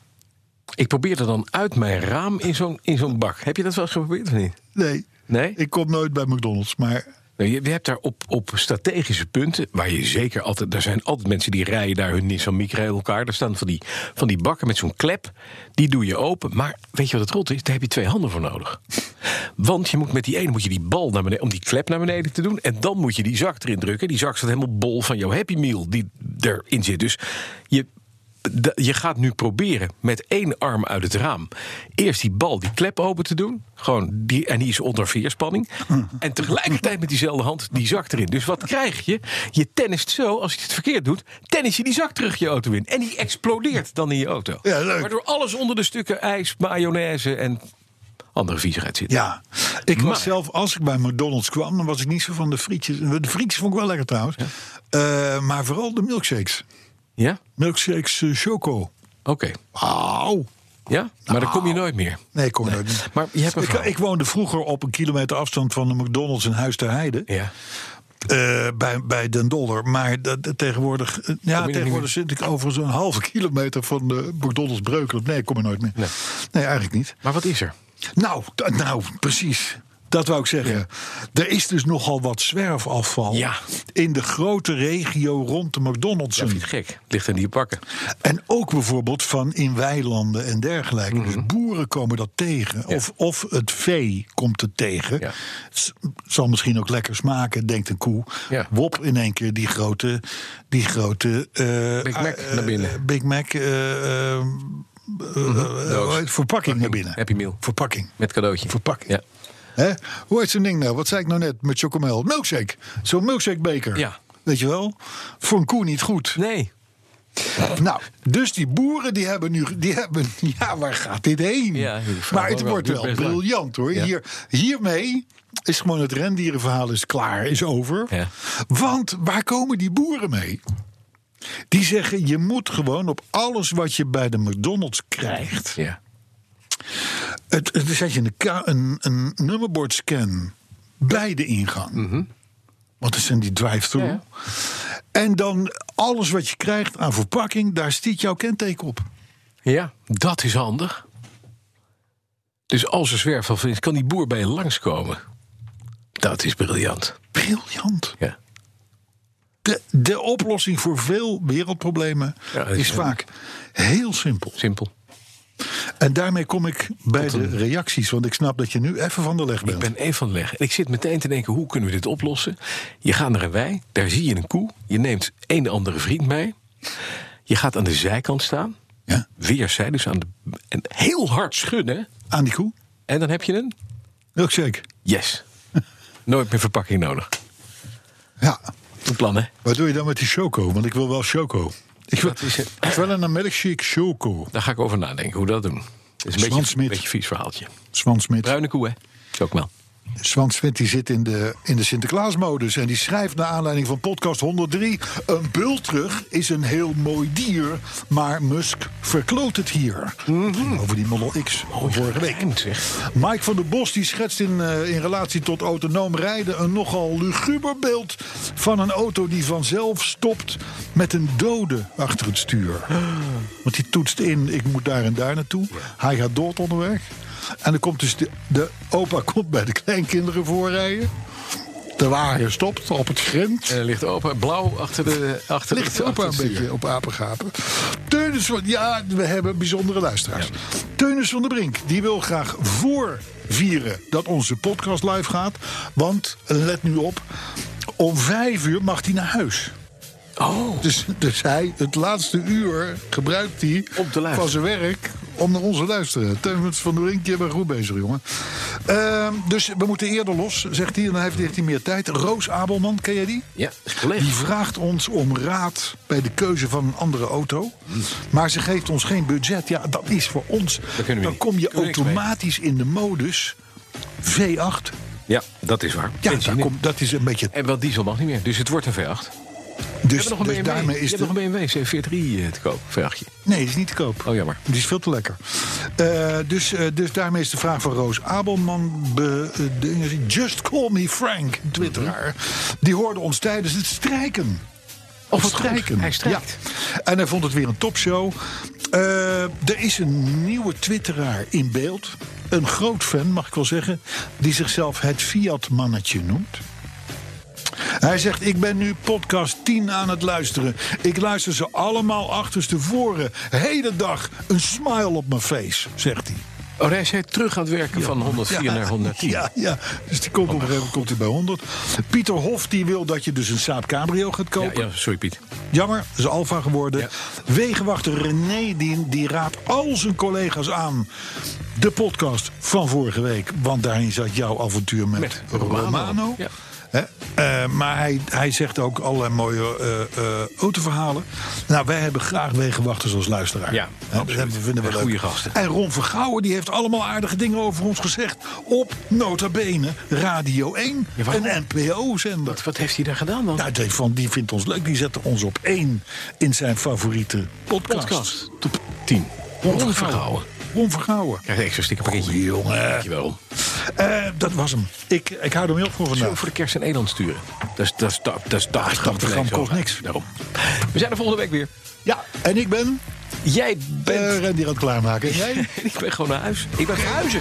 Speaker 2: Ik probeerde dan uit mijn raam in zo'n, in zo'n bak. Heb je dat wel eens geprobeerd of niet?
Speaker 3: Nee.
Speaker 2: Nee?
Speaker 3: Ik kom nooit bij McDonald's, maar
Speaker 2: Nou, je, je hebt daar op, op strategische punten, waar je zeker altijd... Er zijn altijd mensen die rijden daar hun Nissan Micra in elkaar. Daar staan van die, van die bakken met zo'n klep. Die doe je open. Maar weet je wat het rot is? Daar heb je twee handen voor nodig. Want je moet met die ene moet je die bal naar beneden... om die klep naar beneden te doen. En dan moet je die zak erin drukken. Die zak staat helemaal bol van jouw Happy Meal die erin zit. Dus je... da- Je gaat nu proberen met één arm uit het raam. eerst die bal, die klep open te doen. Gewoon die, en die is onder veerspanning. En tegelijkertijd met diezelfde hand die zak erin. Dus wat krijg je? Je tennist zo, als je het verkeerd doet. tennis je die zak terug je auto in. En die explodeert dan in je auto.
Speaker 3: Ja, leuk.
Speaker 2: Waardoor alles onder de stukken ijs, mayonaise en andere viezigheid zit.
Speaker 3: Ja, ik
Speaker 2: Maar-
Speaker 3: was zelf, als ik bij McDonald's kwam, dan was ik niet zo van de frietjes. De frietjes vond ik wel lekker trouwens. Eh, maar vooral de milkshakes.
Speaker 2: Ja?
Speaker 3: Milkshakes eh, choco.
Speaker 2: Oké.
Speaker 3: Auw.
Speaker 2: Ja? Maar dan
Speaker 3: Nou.
Speaker 2: kom je nooit meer.
Speaker 3: Nee, kom nooit niet.
Speaker 2: Maar je hebt een
Speaker 3: ik,
Speaker 2: verhaal.
Speaker 3: ik woonde vroeger op een kilometer afstand van de McDonald's in Huis ter Heide.
Speaker 2: Ja.
Speaker 3: eh, bij, bij Den Dollar. Maar dat- dat tegenwoordig, eh, ja,
Speaker 2: niet
Speaker 3: tegenwoordig zit ik over zo'n halve kilometer van de McDonald's Breukelen. Nee, ik kom er nooit meer.
Speaker 2: Nee.
Speaker 3: nee eigenlijk niet.
Speaker 2: Maar wat is er?
Speaker 3: Nou, d- nou, precies. Dat wou ik zeggen. Er is dus nogal wat zwerfafval
Speaker 2: Ja.
Speaker 3: in de grote regio rond de McDonald's.
Speaker 2: Dat vind ik gek. Ligt in die bakken.
Speaker 3: en ook bijvoorbeeld van in weilanden en dergelijke.
Speaker 2: Mhm.
Speaker 3: Dus boeren komen dat tegen. Of, of het vee komt het tegen.
Speaker 2: Ja.
Speaker 3: S- Zal misschien ook lekker smaken, denkt een koe.
Speaker 2: Ja.
Speaker 3: Wop in één keer die grote... Die grote eh,
Speaker 2: Big Mac
Speaker 3: eh,
Speaker 2: naar binnen. Mhm.
Speaker 3: Big Mac eh, eh,
Speaker 2: Doos.
Speaker 3: eh, verpakking naar binnen.
Speaker 2: Happy Meal.
Speaker 3: Verpakking.
Speaker 2: Met cadeautje.
Speaker 3: Verpakking.
Speaker 2: Ja.
Speaker 3: Hè? Hoe heet zo'n ding nou? Wat zei ik nou net met chocomel? Milkshake. Zo'n milkshakebeker.
Speaker 2: Ja.
Speaker 3: Weet je wel? Voor een koe niet goed.
Speaker 2: Nee.
Speaker 3: Nou, dus die boeren die hebben nu... Die hebben, ja, waar gaat dit heen?
Speaker 2: Ja, ik vraag
Speaker 3: maar
Speaker 2: me
Speaker 3: het
Speaker 2: wel.
Speaker 3: wordt
Speaker 2: Duurt
Speaker 3: wel
Speaker 2: best lang.
Speaker 3: briljant hoor.
Speaker 2: Ja.
Speaker 3: Hier, hiermee is gewoon het rendierenverhaal is klaar, is over.
Speaker 2: Ja.
Speaker 3: Want waar komen die boeren mee? Die zeggen, je moet gewoon op alles wat je bij de McDonald's krijgt...
Speaker 2: Ja.
Speaker 3: Het, het zet je een, ka- een, een nummerbordscan bij de ingang. Want dat zijn die drive-thru.
Speaker 2: Mhm. Ja, ja.
Speaker 3: En dan alles wat je krijgt aan verpakking, daar stiet jouw kenteken op.
Speaker 2: Ja, dat is handig. Dus als er zwerfafval is, kan die boer bij je langskomen. Dat is briljant.
Speaker 3: Briljant.
Speaker 2: Ja.
Speaker 3: De, de oplossing voor veel wereldproblemen
Speaker 2: Ja, dat
Speaker 3: is
Speaker 2: is-
Speaker 3: vaak heel simpel.
Speaker 2: Simpel.
Speaker 3: En daarmee kom ik bij de reacties, want ik snap dat je nu even van de leg
Speaker 2: Ik
Speaker 3: bent.
Speaker 2: ben één van de leg. En ik zit meteen te denken, hoe kunnen we dit oplossen? Je gaat naar een wei, daar zie je een koe. Je neemt een andere vriend mee. Je gaat aan de zijkant staan.
Speaker 3: Ja,
Speaker 2: Weerszij, dus aan de... En heel hard schudden.
Speaker 3: aan die koe.
Speaker 2: En dan heb je een...
Speaker 3: Milkshake.
Speaker 2: Yes. Nooit meer verpakking nodig.
Speaker 3: Ja.
Speaker 2: Goed plan, hè?
Speaker 3: Wat doe je dan met die choco? Want ik wil wel choco. Ik wil,
Speaker 2: Dat is het.
Speaker 3: ik wil een milkshake choco.
Speaker 2: Daar ga ik over nadenken, hoe we dat doen. Het is een
Speaker 3: Swan
Speaker 2: beetje,
Speaker 3: Smit.
Speaker 2: een beetje een vies verhaaltje.
Speaker 3: Swan Smit.
Speaker 2: Bruine koe, hè? Is ook wel.
Speaker 3: Swan Smit die zit in de, in de Sinterklaasmodus. En die schrijft naar aanleiding van podcast 103... Een bultrug is een heel mooi dier, maar Musk verkloot het hier. Ging Over die Model X van vorige week.
Speaker 2: Geheim, zeg.
Speaker 3: Mike van der Bos die schetst in, eh, in relatie tot autonoom rijden een nogal luguber beeld van een auto die vanzelf stopt met een dode achter het stuur. Want die toetst in, ik moet daar en daar naartoe. Hij gaat dood onderweg. En dan komt dus de, de opa komt bij de kleinkinderen voorrijden. De wagen stopt op het grind.
Speaker 2: En er Eh, ligt opa blauw achter de achter
Speaker 3: Ligt
Speaker 2: de,
Speaker 3: ook
Speaker 2: achter
Speaker 3: wel een
Speaker 2: het stuur.
Speaker 3: beetje op apengapen. Teunis van... Ja, we hebben bijzondere luisteraars. Teunis van der Brink, die wil graag voor vieren dat onze podcast live gaat. Want, let nu op, om vijf uur mag hij naar huis.
Speaker 2: Oh,
Speaker 3: Dus, dus hij, het laatste uur, gebruikt hij
Speaker 2: Om te luisteren.
Speaker 3: van zijn werk om naar ons te luisteren. Teunis van der Brink, je bent goed bezig, jongen. Ehm, dus we moeten eerder los, zegt hij. En dan heeft heeft hij meer tijd. Roos Abelman, ken jij die?
Speaker 2: ja, is
Speaker 3: Die
Speaker 2: collega.
Speaker 3: vraagt ons om raad bij de keuze van een andere auto. Maar ze geeft ons geen budget. Ja, dat is voor ons.
Speaker 2: kunnen we
Speaker 3: Dan
Speaker 2: niet.
Speaker 3: kom je
Speaker 2: Kunnen we niks mee.
Speaker 3: automatisch in de modus V8.
Speaker 2: Ja, dat is waar.
Speaker 3: Ja,
Speaker 2: Benzine.
Speaker 3: daar komt- dat is een beetje.
Speaker 2: En wel diesel mag niet meer, dus het wordt een V8.
Speaker 3: Dus,
Speaker 2: We hebben nog een
Speaker 3: dus
Speaker 2: BMW.
Speaker 3: daarmee is
Speaker 2: Je
Speaker 3: de.
Speaker 2: hebt nog een BMW C43 eh, te koop, V8.
Speaker 3: Nee, die is niet te koop.
Speaker 2: Oh, jammer.
Speaker 3: Die is veel te lekker. Eh, dus, eh, dus daarmee is de vraag van Roos Abelman. Be, eh, de- just call me Frank, twitteraar.
Speaker 2: Mhm.
Speaker 3: Die hoorde ons tijdens het strijken. Of
Speaker 2: wat goed. Hij strijkt.
Speaker 3: Ja. En hij vond het weer een topshow. Eh, er is een nieuwe twitteraar in beeld. Een groot fan, mag ik wel zeggen. Die zichzelf het Fiat-mannetje noemt. Hij zegt, ik ben nu podcast 10 aan het luisteren. Ik luister ze allemaal achterstevoren. Hele dag een smile op mijn face, zegt hij.
Speaker 2: Oh, hij zei terug aan het werken van 104 naar 110.
Speaker 3: Ja, ja, dus die komt op een gegeven moment komt hij bij 100. Pieter Hof die wil dat je dus een Saab Cabrio gaat
Speaker 2: Ja,
Speaker 3: kopen.
Speaker 2: ja, sorry Piet.
Speaker 3: Jammer, dat is Alfa geworden.
Speaker 2: Ja.
Speaker 3: Wegenwachter René die, die raadt al zijn collega's aan de podcast van vorige week. Want daarin zat jouw avontuur met,
Speaker 2: Met
Speaker 3: Romano.
Speaker 2: Romano. Ja.
Speaker 3: Hè? Eh, maar hij, hij zegt ook allerlei mooie eh, eh, autoverhalen. Nou, wij hebben graag wegenwachters als luisteraar.
Speaker 2: Ja,
Speaker 3: Hè, dat
Speaker 2: absoluut.
Speaker 3: hebben- vinden we
Speaker 2: En
Speaker 3: leuk.
Speaker 2: goede gasten.
Speaker 3: En Ron Vergouwen die heeft allemaal aardige dingen over ons gezegd. Op nota bene Radio 1,
Speaker 2: Ja, waarom?
Speaker 3: een NPO-zender.
Speaker 2: Wat, wat heeft hij daar gedaan dan?
Speaker 3: Nou, die, van, die vindt ons leuk. Die zette ons op één in zijn favoriete podcast.
Speaker 2: Podcast. Top 10.
Speaker 3: Onvergouwen.
Speaker 2: Onverhouden.
Speaker 3: Onvergouwen.
Speaker 2: Krijg een extra stickerpakketje.
Speaker 3: Goeie Oh, jongen.
Speaker 2: Dankjewel.
Speaker 3: Eh, dat was hem. Ik, ik hou hem heel voor
Speaker 2: Zullen we
Speaker 3: vandaag.
Speaker 2: voor de kerst een eland sturen? Nou. Dat is, dat is, dat is 80
Speaker 3: 80 gram kost niks.
Speaker 2: Daarom. We zijn er volgende week weer.
Speaker 3: Ja, en ik ben
Speaker 2: Jij
Speaker 3: eh
Speaker 2: bent...
Speaker 3: Randy aan het klaarmaken. En jij?
Speaker 2: ik ben gewoon naar huis. Ik ben verhuizen.